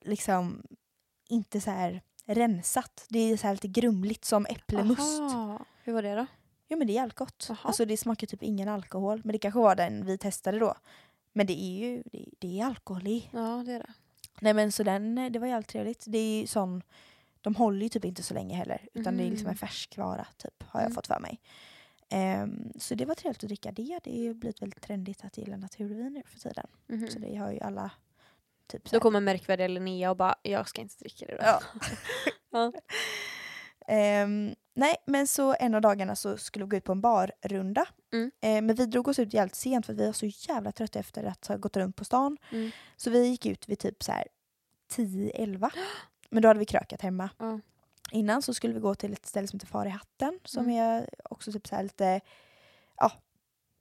Speaker 1: liksom inte så här rensat. Det är så här lite grumligt som äpplemust.
Speaker 2: Aha. Hur var det då?
Speaker 1: Jo men det är alkott.
Speaker 2: Jaha.
Speaker 1: Alltså det smakar typ ingen alkohol. Men det kanske var den vi testade då. Men det är ju det, det är alkohol i.
Speaker 2: Ja, det är det.
Speaker 1: Nej men så den, eh, det var jävligt trevligt. Det är ju sån, de håller ju typ inte så länge heller. Utan det är liksom
Speaker 2: Mhm.
Speaker 1: en färskvara typ har jag
Speaker 2: Mm.
Speaker 1: fått för mig. Ehm, så det var trevligt att dricka det. Det har ju blivit väldigt trendigt att gilla naturvin nu för tiden.
Speaker 2: Mhm.
Speaker 1: Så det har ju alla typ så
Speaker 2: Då
Speaker 1: här-
Speaker 2: kommer märkvärdiga Linnea och bara “jag ska inte dricka det då”.
Speaker 1: Ja.
Speaker 2: Ja.
Speaker 1: Ehm, nej, men så en av dagarna så skulle vi gå ut på en barrunda.
Speaker 2: Mm.
Speaker 1: Ehm, men vi drog oss ut jävligt sent för att vi var så jävla trötta efter att ha gått runt på stan.
Speaker 2: Mm.
Speaker 1: Så vi gick ut vid typ så här 10-11. Men då hade vi krökat hemma.
Speaker 2: Ja.
Speaker 1: Innan så skulle vi gå till ett ställe som heter Far i hatten som
Speaker 2: Mm.
Speaker 1: är också typ så här lite, ja,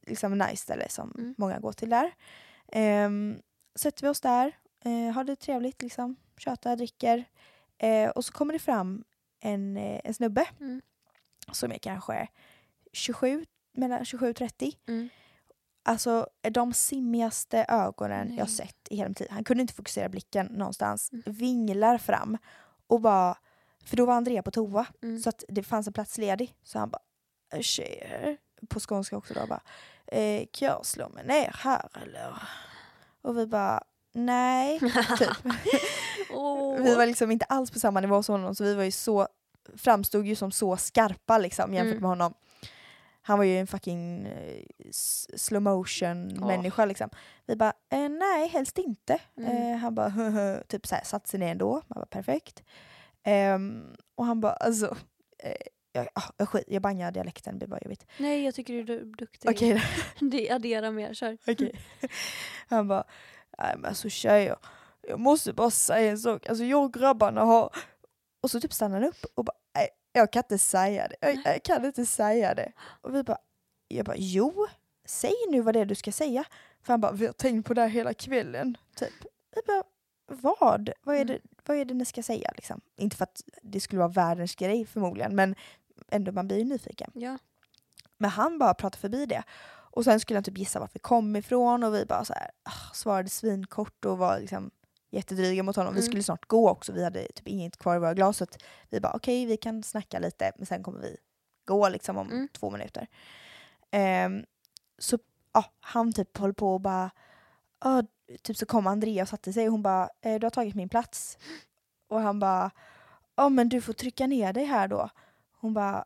Speaker 1: liksom nice ställe som
Speaker 2: Mm.
Speaker 1: många går till där. Ehm, sätter vi oss där, eh, har det trevligt liksom, tjötar, dricker. Eh, och så kommer det fram en, eh, en snubbe
Speaker 2: Mm.
Speaker 1: som är kanske 27, mellan 27 och 30.
Speaker 2: Mm.
Speaker 1: Alltså de simmigaste ögonen
Speaker 2: Nej.
Speaker 1: jag sett i hela mitt liv. Han kunde inte fokusera blicken någonstans.
Speaker 2: Mm.
Speaker 1: Vinglar fram och bara, för då var Andrea på toa
Speaker 2: Mm.
Speaker 1: så att det fanns en plats ledig. Så han bara, tjejer, på skånska också då bara, eh, kan jag slå mig ner här eller? Och vi bara, nej. typ.
Speaker 2: Åh.
Speaker 1: Vi var liksom inte alls på samma nivå som honom så vi var ju så, framstod ju som så skarpa liksom jämfört
Speaker 2: Mm.
Speaker 1: med honom. Han var ju en fucking eh, s- slow motion
Speaker 2: Åh.
Speaker 1: människa liksom. Vi bara, eh, nej helst inte.
Speaker 2: Mm.
Speaker 1: Eh, han bara, "Höhö", typ såhär, satt sig ner ändå. Man bara, perfekt. Ehm, och han bara, alltså, eh, jag, ah, jag, skit, jag bangar dialekten, det blir bara jobbigt.
Speaker 2: Nej, jag tycker du är duktig.
Speaker 1: Okej,
Speaker 2: Det adderar mer, kör.
Speaker 1: Okej. Han bara, nej men alltså tjejer, jag måste bara säga en sak. Alltså jag och grabbarna har... Och så typ stannar han upp och bara, nej jag kan inte säga det. Jag, jag kan inte säga det. Och vi bara, jag bara, jo, säg nu vad det är du ska säga. För han bara, vi har tänkt på det här hela kvällen. Typ. Vi bara, vad? Vad är,
Speaker 2: Mm.
Speaker 1: det, vad är det ni ska säga? Liksom? Inte för att det skulle vara världens grej förmodligen, men ändå man blir ju nyfiken.
Speaker 2: Ja.
Speaker 1: Men han bara pratade förbi det. Och sen skulle han typ gissa vart vi kom ifrån och vi bara så här, ah, svarade svinkort och var liksom jättedryga mot honom. Vi
Speaker 2: Mm.
Speaker 1: skulle snart gå också, vi hade typ inget kvar i våra glas. Så att vi bara okej, vi kan snacka lite men sen kommer vi gå liksom om
Speaker 2: Mm.
Speaker 1: två minuter. Ehm, så ja, han typ höll på och bara, ah, typ så kom Andrea och satte sig och hon bara eh, du har tagit min plats. Och han bara ja men du får trycka ner dig här då. Hon bara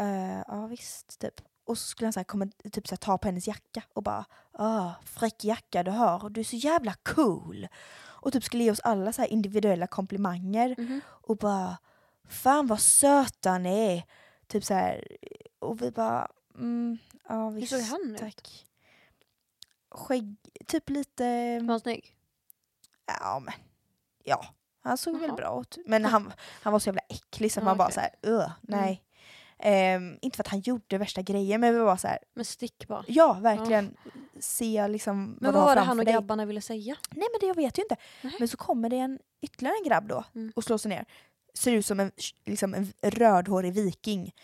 Speaker 1: eh, ja visst typ. Och så skulle han så här, komma, typ så här, ta på hennes jacka och bara ah fräck jacka du har och du är så jävla cool. Och typ skulle ge oss alla så här individuella komplimanger
Speaker 2: Mhm.
Speaker 1: och bara fan vad söta ni är. Typ så här och vi bara mm, ja
Speaker 2: Hur
Speaker 1: visst.
Speaker 2: såg han ut?
Speaker 1: Tack. Skägg, typ lite...
Speaker 2: Var han snygg?
Speaker 1: Ja, men, ja. han såg väl
Speaker 2: Jaha.
Speaker 1: bra ut. Men han, han var så jävla äcklig så att
Speaker 2: Ja,
Speaker 1: man bara
Speaker 2: okej. Mm.
Speaker 1: såhär, öh, nej. Ehm, inte för att han gjorde värsta grejer men vi var så här,
Speaker 2: Men stick bara.
Speaker 1: ja verkligen se liksom
Speaker 2: Men
Speaker 1: vad du
Speaker 2: vad
Speaker 1: har
Speaker 2: var det
Speaker 1: framför
Speaker 2: han och
Speaker 1: dig.
Speaker 2: grabbarna ville säga?
Speaker 1: Nej men det jag vet ju inte.
Speaker 2: Nej.
Speaker 1: Men så kommer det en, ytterligare en grabb då
Speaker 2: Mm.
Speaker 1: och slår sig ner. Ser ut som en, liksom en rödhårig viking.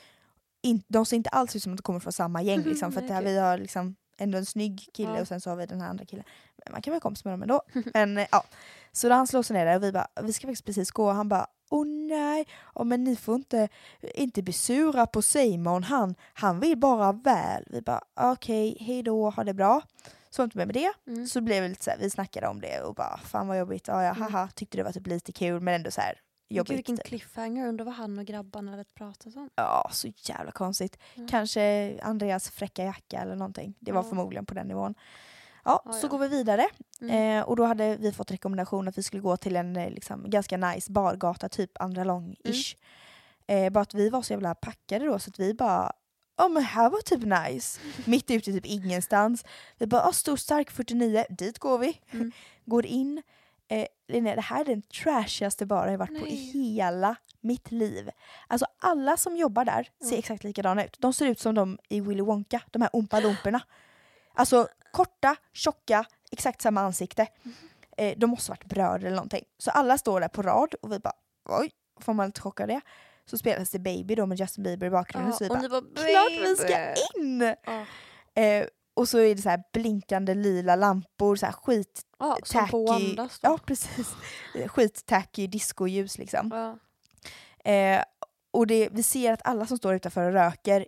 Speaker 1: In, de ser inte alls ut som att de kommer från samma gäng.
Speaker 2: Mhm,
Speaker 1: Liksom, för att det här,
Speaker 2: okej.
Speaker 1: vi har liksom ändå en snygg kille
Speaker 2: Ja.
Speaker 1: och sen så har vi den här andra killen. Men man kan vara kompis med dem ändå. men, eh, ja. Så då han slår sig ner där och vi bara, vi ska faktiskt precis gå och han bara Åh nej, oh, men ni får inte, inte bli sura på Simon, han, han vill bara väl. Vi bara okej, hejdå, ha det bra. Så var inte med med det.
Speaker 2: Mm.
Speaker 1: Så blev det lite så här, vi snackade om det och bara fan vad jobbigt, ja, ja
Speaker 2: Mm.
Speaker 1: haha, tyckte det var typ lite kul men ändå så här
Speaker 2: Gud,
Speaker 1: jobbigt.
Speaker 2: vilken
Speaker 1: typ.
Speaker 2: cliffhanger, undrar vad han och grabbarna hade pratat om.
Speaker 1: Ja, så jävla konstigt.
Speaker 2: Mm.
Speaker 1: Kanske Andreas fräcka jacka eller någonting. Det var
Speaker 2: Ja.
Speaker 1: förmodligen på den nivån. Ja,
Speaker 2: Ja,
Speaker 1: så
Speaker 2: ja.
Speaker 1: går vi vidare
Speaker 2: Mm.
Speaker 1: eh, och då hade vi fått rekommendation att vi skulle gå till en eh, liksom, ganska nice bargata, typ andra lång-ish.
Speaker 2: Mm.
Speaker 1: Eh, bara att vi var så jävla packade då så att vi bara Ja men här var typ nice. Mitt ute i typ ingenstans. Vi bara, ah, stor stark 49, dit går vi.
Speaker 2: Mm.
Speaker 1: Går in. Eh, Linnea, det här är den trashigaste bar jag varit på i
Speaker 2: Nej.
Speaker 1: hela mitt liv. Alltså alla som jobbar där ser
Speaker 2: Mm.
Speaker 1: exakt likadana ut. De ser ut som de i Willy Wonka, de här Oompa Loomporna. Alltså korta, tjocka, exakt samma ansikte.
Speaker 2: Mm-hmm.
Speaker 1: Eh, de måste varit bröder eller någonting. Så alla står där på rad och vi bara, oj, får man lite chock av det. Så spelas det Baby då med Justin Bieber i bakgrunden. så vi bara,
Speaker 2: ni bara
Speaker 1: klart vi ska
Speaker 2: "Baby."
Speaker 1: in!
Speaker 2: Ja,
Speaker 1: Eh, och så är det så här blinkande lila lampor, så här skit
Speaker 2: Ja, som på
Speaker 1: tacky,
Speaker 2: Wandas då.
Speaker 1: ja, precis. Eh, skit tacky discoljus liksom.
Speaker 2: Ja.
Speaker 1: Eh, och det, vi ser att alla som står utanför och röker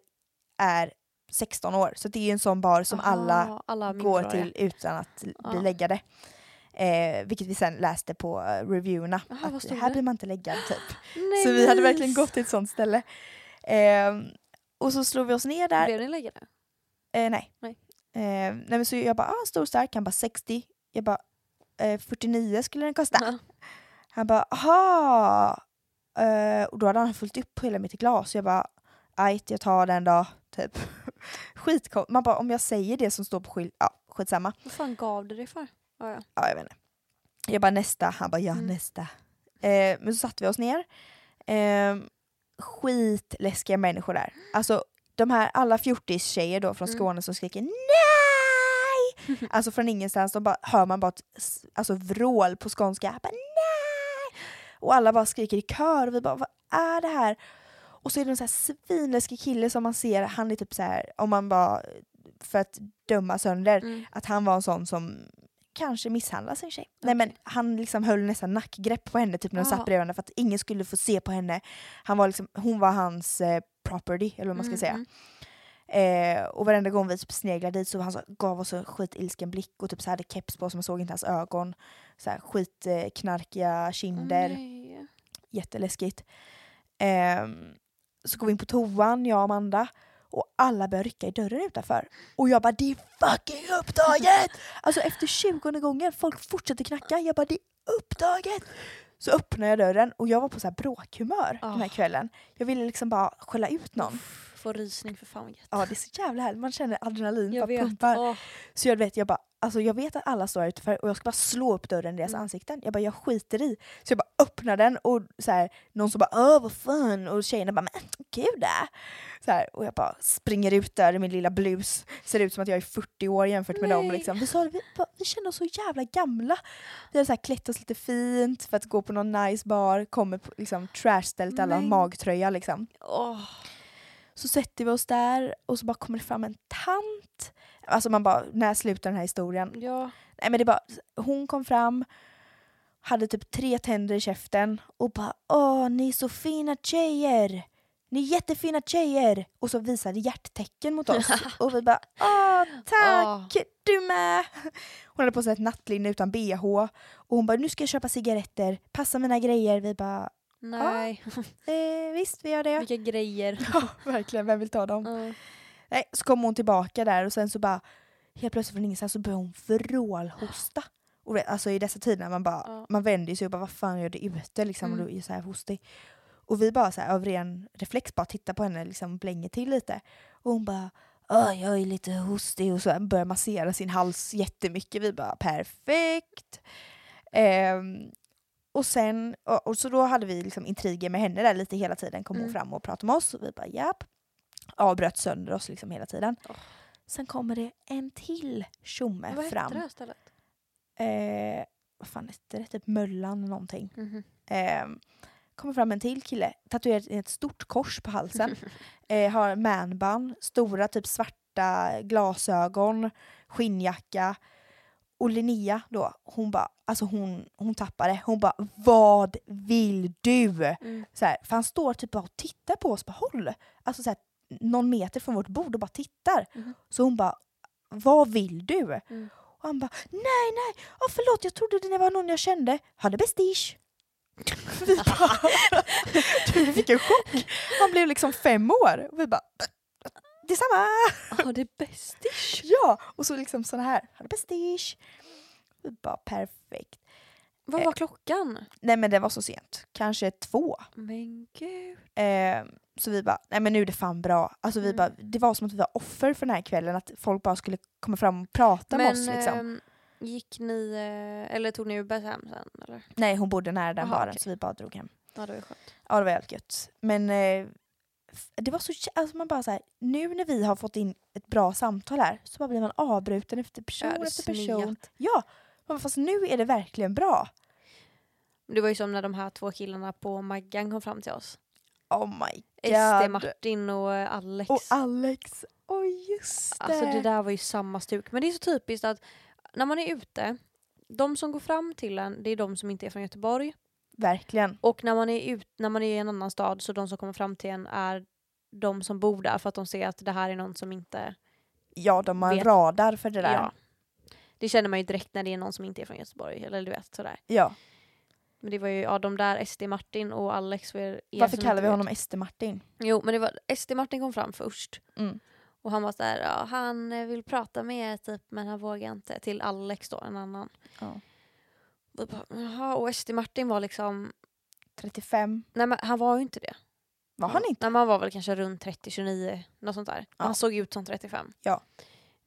Speaker 1: är 16 år. Så det är ju en sån bar som alla
Speaker 2: Aha, alla
Speaker 1: går
Speaker 2: minderåriga.
Speaker 1: till utan att l- bli
Speaker 2: Ja.
Speaker 1: läggade. Eh, vilket vi sen läste på eh, reviewerna.
Speaker 2: Aha, vad
Speaker 1: att
Speaker 2: stod
Speaker 1: här
Speaker 2: det?
Speaker 1: blir man inte läggad typ.
Speaker 2: Nej,
Speaker 1: så vi hade
Speaker 2: mys.
Speaker 1: verkligen gått till ett sånt ställe. Eh, och så slog vi oss ner där.
Speaker 2: Blev ni läggade?
Speaker 1: Eh, nej.
Speaker 2: Nej.
Speaker 1: Eh, nej men så jag bara, ah, stor stark, han bara 60. Jag bara, eh, 49 skulle den kosta.
Speaker 2: Ja.
Speaker 1: Han bara, aha! Eh, och då hade han fullt upp hela mitt glas. Jag bara, ajt jag tar den då. Typ. Skitkom. Man bara, om jag säger det som står på skylt, ja skitsamma.
Speaker 2: Vad fan gav du det för? Ja, ja.
Speaker 1: Ja jag vet inte. Jag bara nästa, han bara ja
Speaker 2: Mm.
Speaker 1: nästa. Eh, men så satte vi oss ner. Eh, skitläskiga människor där. Alltså de här alla fjortis-tjejer då från
Speaker 2: Mm.
Speaker 1: Skåne som skriker NEJ! Alltså från ingenstans, de bara, hör man bara ett s- alltså, vrål på skånska. Bara, NEJ! Och alla bara skriker i kör och vi bara vad är det här? Och så är det en så här svinläskig kille som man ser, han är typ så här, om man bara för att döma sönder,
Speaker 2: Mm.
Speaker 1: att han var en sån som kanske misshandlade sin tjej. Nej
Speaker 2: Okej.
Speaker 1: men han liksom höll nästan nackgrepp på henne typ när hon
Speaker 2: Ah.
Speaker 1: satt bredvid henne för att ingen skulle få se på henne. Han var liksom, hon var hans eh, property eller vad man ska säga.
Speaker 2: Mm, mm.
Speaker 1: Eh, och varenda gång vi typ sneglade dit så han så, gav oss en skitilsken blick och typ så hade keps på så man såg inte hans ögon. Så här, skitknarkiga eh, knarkiga kinder.
Speaker 2: mm, Nej.
Speaker 1: Jätteläskigt. Ehm, så går vi in på toan, jag och Amanda. Och alla börjar rycka i dörren utanför. Och jag bara det är fucking upptaget! Alltså efter 20 gången, folk fortsätter knacka. Jag bara det är upptaget! Så öppnar jag dörren och jag var på så här bråkhumör den här
Speaker 2: Ah.
Speaker 1: kvällen. Jag ville liksom bara skälla ut någon.
Speaker 2: Uff, Får rysning för fan vad gött.
Speaker 1: Ja det är så jävla härligt, man känner adrenalin
Speaker 2: Jag
Speaker 1: bara
Speaker 2: vet.
Speaker 1: pumpar.
Speaker 2: Åh,
Speaker 1: Så jag vet, jag bara alltså jag vet att alla står här utanför och jag ska bara slå upp dörren i deras ansikten. Jag bara, jag skiter i. Så jag bara öppnar den och så här, någon som bara öh vad fan och tjejerna bara men gud äh. så här, Och jag bara springer ut där i min lilla blus. Ser ut som att jag är 40 år jämfört med dem.
Speaker 2: Nej.
Speaker 1: Liksom. Vi, sa, det, vi, bara, vi kände oss så jävla gamla. Vi hade så här, klätt oss lite fint för att gå på någon nice bar. Kommer på liksom, trashstället, alla har
Speaker 2: Men-
Speaker 1: magtröja liksom.
Speaker 2: Åh.
Speaker 1: Så sätter vi oss där och så bara kommer det fram en tant. Alltså man bara, när slutar den här historien?
Speaker 2: Ja.
Speaker 1: Nej men det bara, hon kom fram, hade typ tre tänder i käften och bara Åh, ni är så fina tjejer! Ni är jättefina tjejer! Och så visade hjärttecken mot oss och vi bara Åh, tack! Du med! Hon hade på sig ett nattlinne utan bh och hon bara Nu ska jag köpa cigaretter, passa mina grejer. Vi bara
Speaker 2: Nej.
Speaker 1: eh, Visst, vi gör det.
Speaker 2: Vilka grejer.
Speaker 1: Ja, verkligen, vem vill ta dem?
Speaker 2: Ja.
Speaker 1: Nej, så kom hon tillbaka där och sen så bara helt plötsligt från ingenstans så började hon vrålhosta. Och det, alltså i dessa tider när man bara,
Speaker 2: Ja.
Speaker 1: man vänder sig och bara vad fan gör du ute liksom
Speaker 2: Mm.
Speaker 1: och du är så här hostig. Och vi bara så här av ren reflex bara tittar på henne liksom blänger till lite. Och hon bara Åh, jag är lite hostig och så börjar massera sin hals jättemycket. Vi bara perfekt. Ehm, och sen, och, och så då hade vi liksom intriger med henne där lite hela tiden. Kom hon
Speaker 2: Mm.
Speaker 1: fram och pratade med oss och vi bara japp. Avbröt sönder oss liksom hela tiden.
Speaker 2: Åh.
Speaker 1: Sen kommer det en till tjomme
Speaker 2: Vad hette
Speaker 1: fram.
Speaker 2: det här stället?
Speaker 1: Eh, vad fan hette det? Typ Möllan eller någonting.
Speaker 2: Mhm.
Speaker 1: Ehm, kommer fram en till kille, tatuerad i ett stort kors på halsen. eh, har manband, stora typ svarta glasögon, skinnjacka. Och Linnea då, hon bara, alltså hon, hon tappade. Hon bara, vad vill du?
Speaker 2: Mm.
Speaker 1: Så här, för han står typ bara och tittar på oss på håll. Alltså så här, någon meter från vårt bord och bara tittar.
Speaker 2: Mhm.
Speaker 1: Så hon bara, vad vill du?
Speaker 2: Mm.
Speaker 1: Och han bara, nej nej, oh, förlåt jag trodde det var någon jag kände. Han är bestisch. vi bara, du vi fick en chock. Han blev liksom fem år. Och vi bara, detsamma!
Speaker 2: Ja, det är bästis.
Speaker 1: Ja! Och så liksom sådana här, han är bestisch. Vi bara, perfekt. Eh.
Speaker 2: Vad var klockan?
Speaker 1: Nej men det var så sent, kanske två.
Speaker 2: Men gud.
Speaker 1: Eh, så vi bara, nej men nu är det fan bra. Alltså vi
Speaker 2: Mm.
Speaker 1: bara, det var som att vi var offer för den här kvällen, att folk bara skulle komma fram och prata med oss. Liksom.
Speaker 2: ehm, gick ni, eh, eller tog ni Uber hem sen? Eller?
Speaker 1: nej hon bodde nära den
Speaker 2: Aha,
Speaker 1: baren
Speaker 2: okej.
Speaker 1: så vi bara drog hem.
Speaker 2: Ja, det var ju skönt.
Speaker 1: Ja det var jävligt gött. Men eh, f- det var så, jä- alltså man bara så här, nu när vi har fått in ett bra samtal här så bara blir man avbruten efter person
Speaker 2: Ja, det är
Speaker 1: efter person.
Speaker 2: snett.
Speaker 1: Ja, man bara, fast nu är det verkligen bra.
Speaker 2: Det var ju som när de här två killarna på Maggan kom fram till oss.
Speaker 1: Oh my
Speaker 2: SD,
Speaker 1: god.
Speaker 2: Martin och eh, Alex.
Speaker 1: Och Alex, oj just det.
Speaker 2: Alltså det där var ju samma stuk. Men det är så typiskt att när man är ute, de som går fram till en det är de som inte är från Göteborg.
Speaker 1: Verkligen.
Speaker 2: Och när man är, ut, när man är i en annan stad så de som kommer fram till en är de som bor där för att de ser att det här är någon som inte...
Speaker 1: Ja, de har en
Speaker 2: Vet-
Speaker 1: radar för det där.
Speaker 2: Ja. Det känner man ju direkt när det är någon som inte är från Göteborg. Eller du vet sådär.
Speaker 1: ja.
Speaker 2: Men det var ju ja, de där SD Martin och Alex. Var er
Speaker 1: Varför
Speaker 2: som
Speaker 1: kallar
Speaker 2: inte
Speaker 1: vi
Speaker 2: vet.
Speaker 1: honom SD-Martin?
Speaker 2: Jo men det var SD Martin kom fram först.
Speaker 1: Mm.
Speaker 2: Och han var såhär, ja, han eh, vill prata med er typ men han vågar inte. Till Alex då, en annan.
Speaker 1: Ja.
Speaker 2: Och jag bara, Jaha, och SD Martin var liksom,
Speaker 1: 35.
Speaker 2: nej men han var ju inte det.
Speaker 1: Var han inte?
Speaker 2: Nej, men han var väl kanske runt 30-29, något sånt där.
Speaker 1: Ja.
Speaker 2: Han såg ut som 35.
Speaker 1: Ja.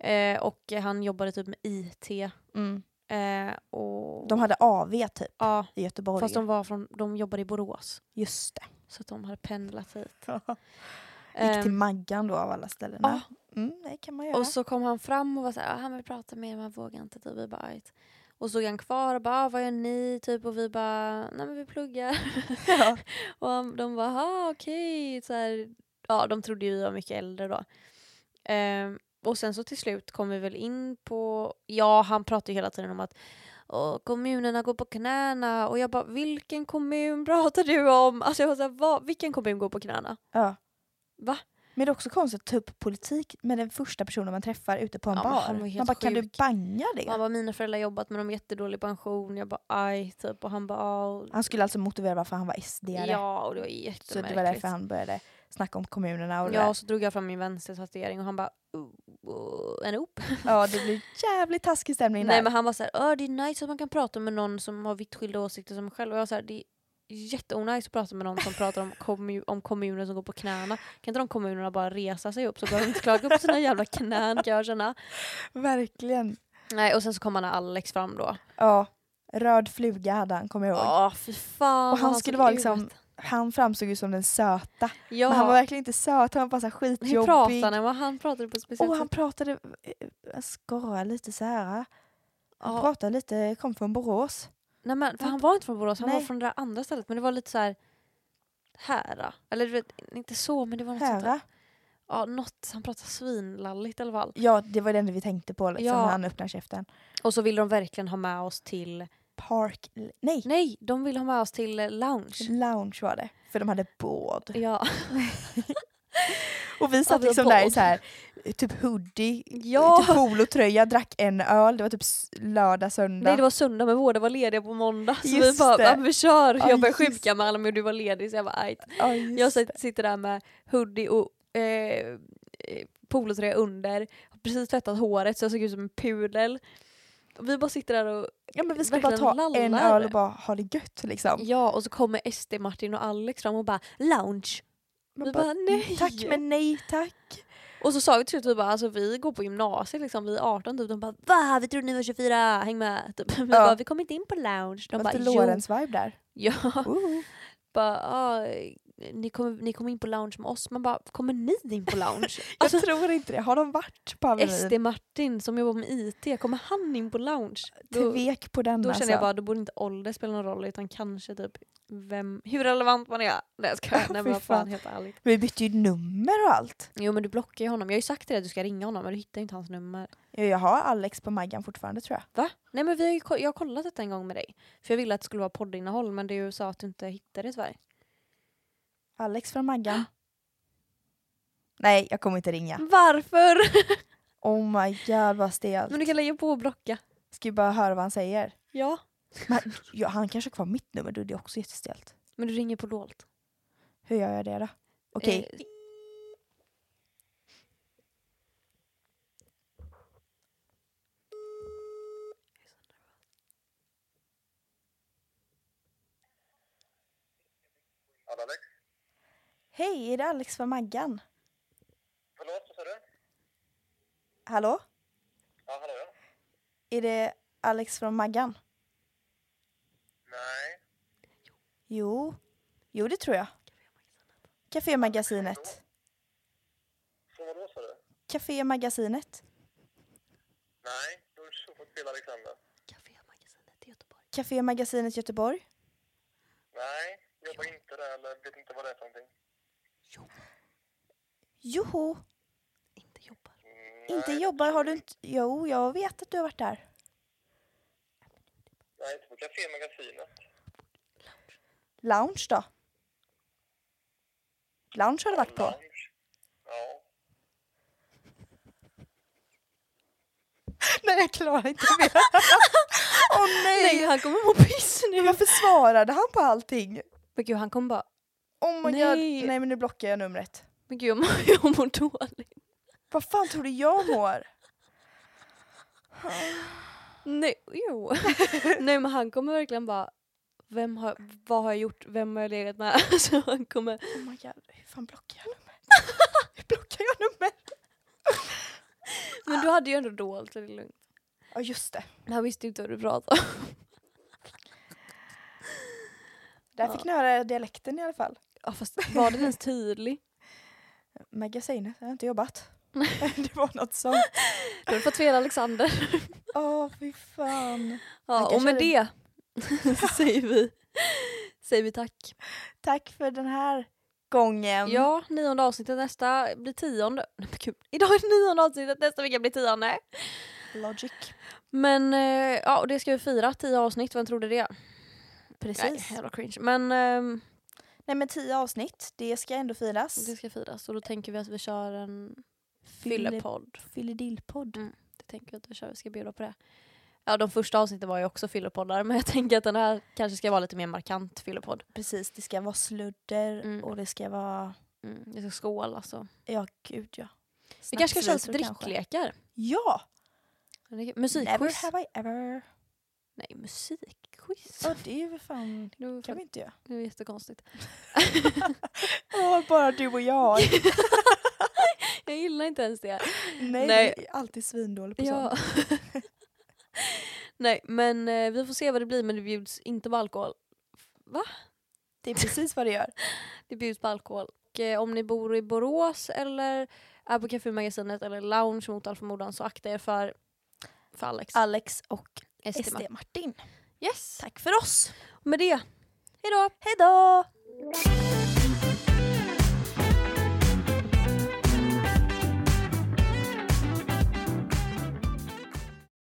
Speaker 2: Eh, och han jobbade typ med IT.
Speaker 1: Mm.
Speaker 2: Eh, och,
Speaker 1: De hade AV typ
Speaker 2: ja,
Speaker 1: i Göteborg.
Speaker 2: fast de, var från, de jobbade i Borås.
Speaker 1: Just det.
Speaker 2: Så att de hade pendlat hit.
Speaker 1: Gick till
Speaker 2: Ehm,
Speaker 1: Maggan då av alla ställen.
Speaker 2: ja.
Speaker 1: Mm, det kan man göra.
Speaker 2: och så kom han fram och var så här, "Ah, han vill prata med er men han vågar inte. Typ. Vi bara, "Ajt." och så såg han kvar och bara, "Ah, vad gör ni? Typ, och vi bara, nej men vi pluggar.
Speaker 1: ja.
Speaker 2: Och han, de bara, ah okej. så här, Ja, de trodde ju jag var mycket äldre då. Ehm, och sen så till slut kom vi väl in på, ja han pratade ju hela tiden om att "Åh, kommunerna går på knäna och jag bara vilken kommun pratar du om? Alltså jag var såhär, "Va? vilken kommun går på knäna?
Speaker 1: ja.
Speaker 2: Va?
Speaker 1: Men det är också konstigt att ta upp politik med den första personen man träffar ute på en
Speaker 2: Ja, men han var
Speaker 1: bar.
Speaker 2: ju
Speaker 1: Man
Speaker 2: helt
Speaker 1: bara, kan du
Speaker 2: sjuk.
Speaker 1: banga
Speaker 2: Han
Speaker 1: det?
Speaker 2: bara mina föräldrar har jobbat men de har jättedålig pension. Jag bara aj typ och han bara "Ah."
Speaker 1: Han skulle alltså motivera varför han var SD-are.
Speaker 2: ja och det var
Speaker 1: E. så
Speaker 2: jättemärkligt.
Speaker 1: det var därför han började snacka om kommunerna och det
Speaker 2: Ja
Speaker 1: där.
Speaker 2: och så drog jag fram min vänstertatuering och han bara "Oh, oh, en upp.
Speaker 1: ja, det blev jävligt taskig stämning
Speaker 2: Nej
Speaker 1: där.
Speaker 2: men han var såhär, "Åh, det är nice att man kan prata med någon som har vitt skilda åsikter som en själv. Och jag var såhär, det är jätteonajs att prata med någon som pratar om, kommu- om kommuner som går på knäna. Kan inte de kommunerna bara resa sig upp så behöver de inte klaga på sina jävla knän kan jag känna.
Speaker 1: Verkligen.
Speaker 2: Nej, och sen så kom han Alex fram då.
Speaker 1: Ja, röd fluga hade han, kommer jag ihåg.
Speaker 2: Ja, fy fan.
Speaker 1: Och han
Speaker 2: såg
Speaker 1: skulle vara
Speaker 2: ut.
Speaker 1: liksom- Han framstod ju som den söta.
Speaker 2: Ja.
Speaker 1: Men han var verkligen inte söt, han var bara så här
Speaker 2: Hur
Speaker 1: skitjobbig.
Speaker 2: pratade han? Vad Han pratade på ett speciellt
Speaker 1: Och han
Speaker 2: sätt.
Speaker 1: pratade, jag skojar lite så här. Han
Speaker 2: Ja.
Speaker 1: pratade lite, kom från Borås.
Speaker 2: Nej, men, för han var inte från Borås, han var
Speaker 1: Nej.
Speaker 2: från det där andra stället. Men det var lite så här hära. Eller du vet, inte så men det var något sånt där.
Speaker 1: Hära.
Speaker 2: Ja, något. Han pratade svinlalligt i alla fall.
Speaker 1: Ja, det var det enda vi tänkte på liksom,
Speaker 2: Ja.
Speaker 1: när han öppnade käften.
Speaker 2: Och så ville de verkligen ha med oss till...
Speaker 1: Park, nej,
Speaker 2: Nej, de ville ha med oss till eh, lounge.
Speaker 1: lounge var det. För de hade båd.
Speaker 2: Ja.
Speaker 1: Och vi satt
Speaker 2: vi har
Speaker 1: liksom där i
Speaker 2: båd.
Speaker 1: så här, typ hoodie,
Speaker 2: Ja.
Speaker 1: typ polotröja, drack en öl. Det var typ s- lördag, söndag.
Speaker 2: Nej det var söndag men vården var lediga på måndag. Så vi
Speaker 1: Just
Speaker 2: bara,
Speaker 1: det.
Speaker 2: ja, men vi kör.
Speaker 1: Ja,
Speaker 2: jag började
Speaker 1: just
Speaker 2: sjuka med alla men du var ledig så jag bara, aj.
Speaker 1: Ja, just
Speaker 2: Jag
Speaker 1: det.
Speaker 2: sit- sitter där med hoodie och eh, eh, polotröja under. Har precis tvättat håret så jag såg ut som en pudel. Och vi bara sitter där och
Speaker 1: ja, men vi ska bara
Speaker 2: verkligen
Speaker 1: ta en
Speaker 2: lallar.
Speaker 1: öl och bara ha det gött liksom.
Speaker 2: ja och så kommer SD, Martin och Alex fram och bara lounge.
Speaker 1: Man "Mm,
Speaker 2: Vi bara, nej.
Speaker 1: Tack men nej tack.
Speaker 2: Och så sa vi till slut vi bara alltså vi går på gymnasiet liksom, vi är 18 typ. De bara va vi trodde ni var 24, häng med. Typ. Vi
Speaker 1: Ja.
Speaker 2: bara vi kommer inte in på lounge. De
Speaker 1: De
Speaker 2: bara
Speaker 1: Fast
Speaker 2: jo. Ah.
Speaker 1: Lorentz-vibe där.
Speaker 2: Ja.
Speaker 1: Oh.
Speaker 2: bara, ah, ni kommer ni kom in på lounge med oss. Man bara, kommer ni in på lounge? alltså,
Speaker 1: jag tror inte det. Har de varit på Avenyn?
Speaker 2: SD-Martin som jobbar med IT, kommer han in på lounge? Då,
Speaker 1: Tvek på den
Speaker 2: då
Speaker 1: alltså.
Speaker 2: känner jag bara, då borde inte ålder spela någon roll utan kanske typ vem, hur relevant man är. Nej jag skojar,
Speaker 1: Fy
Speaker 2: nej men vad fan
Speaker 1: fan.
Speaker 2: helt ärligt.
Speaker 1: Vi bytte ju nummer och allt.
Speaker 2: Jo men du blockar ju honom, jag har ju sagt till dig att du ska ringa honom men du hittar ju inte hans nummer.
Speaker 1: Ja, Jag har Alex på Maggan fortfarande tror jag.
Speaker 2: Va? Nej men vi har ju, ko- jag har kollat detta en gång med dig. För jag ville att det skulle vara poddinnehåll men du sa att du inte hittade det tyvärr.
Speaker 1: Alex från
Speaker 2: Ah.
Speaker 1: Maggan. Nej, jag kommer inte
Speaker 2: Mm.
Speaker 1: ringa.
Speaker 2: Varför?
Speaker 1: Oh my god vad stelt.
Speaker 2: men du kan lägga på och blocka.
Speaker 1: Ska ju bara höra vad han säger.
Speaker 2: Ja.
Speaker 1: Men, ja, han kanske har kvar mitt nummer, då är det är också jättestelt.
Speaker 2: Men du ringer på dolt.
Speaker 1: Hur gör jag det då? Okej,
Speaker 2: Eh,
Speaker 3: Alex?
Speaker 1: hej är det Alex från Maggan?
Speaker 3: Förlåt, vad sa du?
Speaker 1: Hallå?
Speaker 3: Ja, hallå ja.
Speaker 1: Är det Alex från Maggan?
Speaker 3: Nej.
Speaker 1: Jo, jo det tror jag. Café Magasinet.
Speaker 3: Från vadå sa du?
Speaker 1: Café Magasinet.
Speaker 3: Nej, då är det så fel Alexander.
Speaker 2: Cafémagasinet i Göteborg.
Speaker 1: Café Magasinet Göteborg.
Speaker 3: Nej, jobbar inte där eller vet inte vad det är för någonting.
Speaker 2: Jo,
Speaker 1: Joho,
Speaker 2: inte jobbar.
Speaker 3: Mm,
Speaker 1: inte
Speaker 3: nej,
Speaker 1: jobbar har du inte... Jo, jag vet att du har varit där.
Speaker 3: Nej, inte på Café Magasinet.
Speaker 1: Lounge då? Lounge har du varit på.
Speaker 3: Lounge. Ja.
Speaker 1: Nej, jag klarar inte mer. Åh nej!
Speaker 2: Nej, han kommer må piss nu.
Speaker 1: Men varför svarade han på allting?
Speaker 2: Men gud, han kommer bara,
Speaker 1: Oh my
Speaker 2: Nej.
Speaker 1: god. Nej men nu blockar jag numret.
Speaker 2: men gud jag mår, jag mår dåligt.
Speaker 1: Vad fan tror du jag mår?
Speaker 2: Nej, jo. Nej, men han kommer verkligen bara, vem har, vad har jag gjort, vem har jag legat med? Alltså han kommer,
Speaker 1: Oh my god, hur fan blockar jag numret? hur blockar jag numret?
Speaker 2: men du hade ju ändå dolt så det är lugnt.
Speaker 1: Ja just det.
Speaker 2: Men Han visste ju inte vad du pratade om.
Speaker 1: Där fick ni höra dialekten i alla fall.
Speaker 2: Ja fast var den ens tydlig?
Speaker 1: Magasinet, jag har inte jobbat. det var något sånt.
Speaker 2: Du har fått fel Alexander.
Speaker 1: Åh fy fan. Han
Speaker 2: Ja, och
Speaker 1: kanske
Speaker 2: med det
Speaker 1: hade-
Speaker 2: säger vi, säger vi tack.
Speaker 1: Tack för den här gången.
Speaker 2: Ja, nionde avsnittet nästa blir tionde. Nej, men gud. Idag är det nionde avsnittet, nästa vecka blir tionde.
Speaker 1: Logic.
Speaker 2: Men eh, ja, och det ska vi fira. Tio avsnitt, vem trodde det? Nej,
Speaker 1: Precis. Nej,
Speaker 2: jävla cringe. Men ehm,
Speaker 1: men tio avsnitt, det ska ändå firas.
Speaker 2: det ska firas och då tänker vi att vi kör en fyllepodd.
Speaker 1: Fyllidillpodd.
Speaker 2: Det tänker vi att vi kör, vi ska bjuda på det. Ja, de första avsnitten var ju också fyllepoddar men jag tänker att den här kanske ska vara lite mer markant fyllepodd.
Speaker 1: Precis, det ska vara sludder
Speaker 2: Mm.
Speaker 1: och det ska vara...
Speaker 2: Mm. Jag ska skåla alltså.
Speaker 1: Ja, gud ja.
Speaker 2: Vi kanske ska köra lite
Speaker 1: Snacksvisor kanske.
Speaker 2: dricklekar.
Speaker 1: Ja! Never
Speaker 2: Musikquiz.
Speaker 1: have I ever.
Speaker 2: Nej, musikquiz.
Speaker 1: Ja, det är ju för fan...
Speaker 2: Det var-
Speaker 1: kan vi inte göra.
Speaker 2: det var jättekonstigt.
Speaker 1: Åh, bara du och jag.
Speaker 2: Jag gillar inte ens det.
Speaker 1: Nej,
Speaker 2: Nej.
Speaker 1: vi är alltid svindålig på
Speaker 2: Ja.
Speaker 1: sånt.
Speaker 2: Nej men eh, vi får se vad det blir men det bjuds inte på alkohol.
Speaker 1: Det är precis vad det gör.
Speaker 2: Det bjuds på alkohol. Och, eh, om ni bor i Borås eller är på Cafémagasinet eller Lounge mot all förmodan så akta er för, för Alex.
Speaker 1: Alex och
Speaker 2: Estima.
Speaker 1: SD Martin.
Speaker 2: Yes!
Speaker 1: Tack för oss.
Speaker 2: Med det, hejdå!
Speaker 1: Hejdå!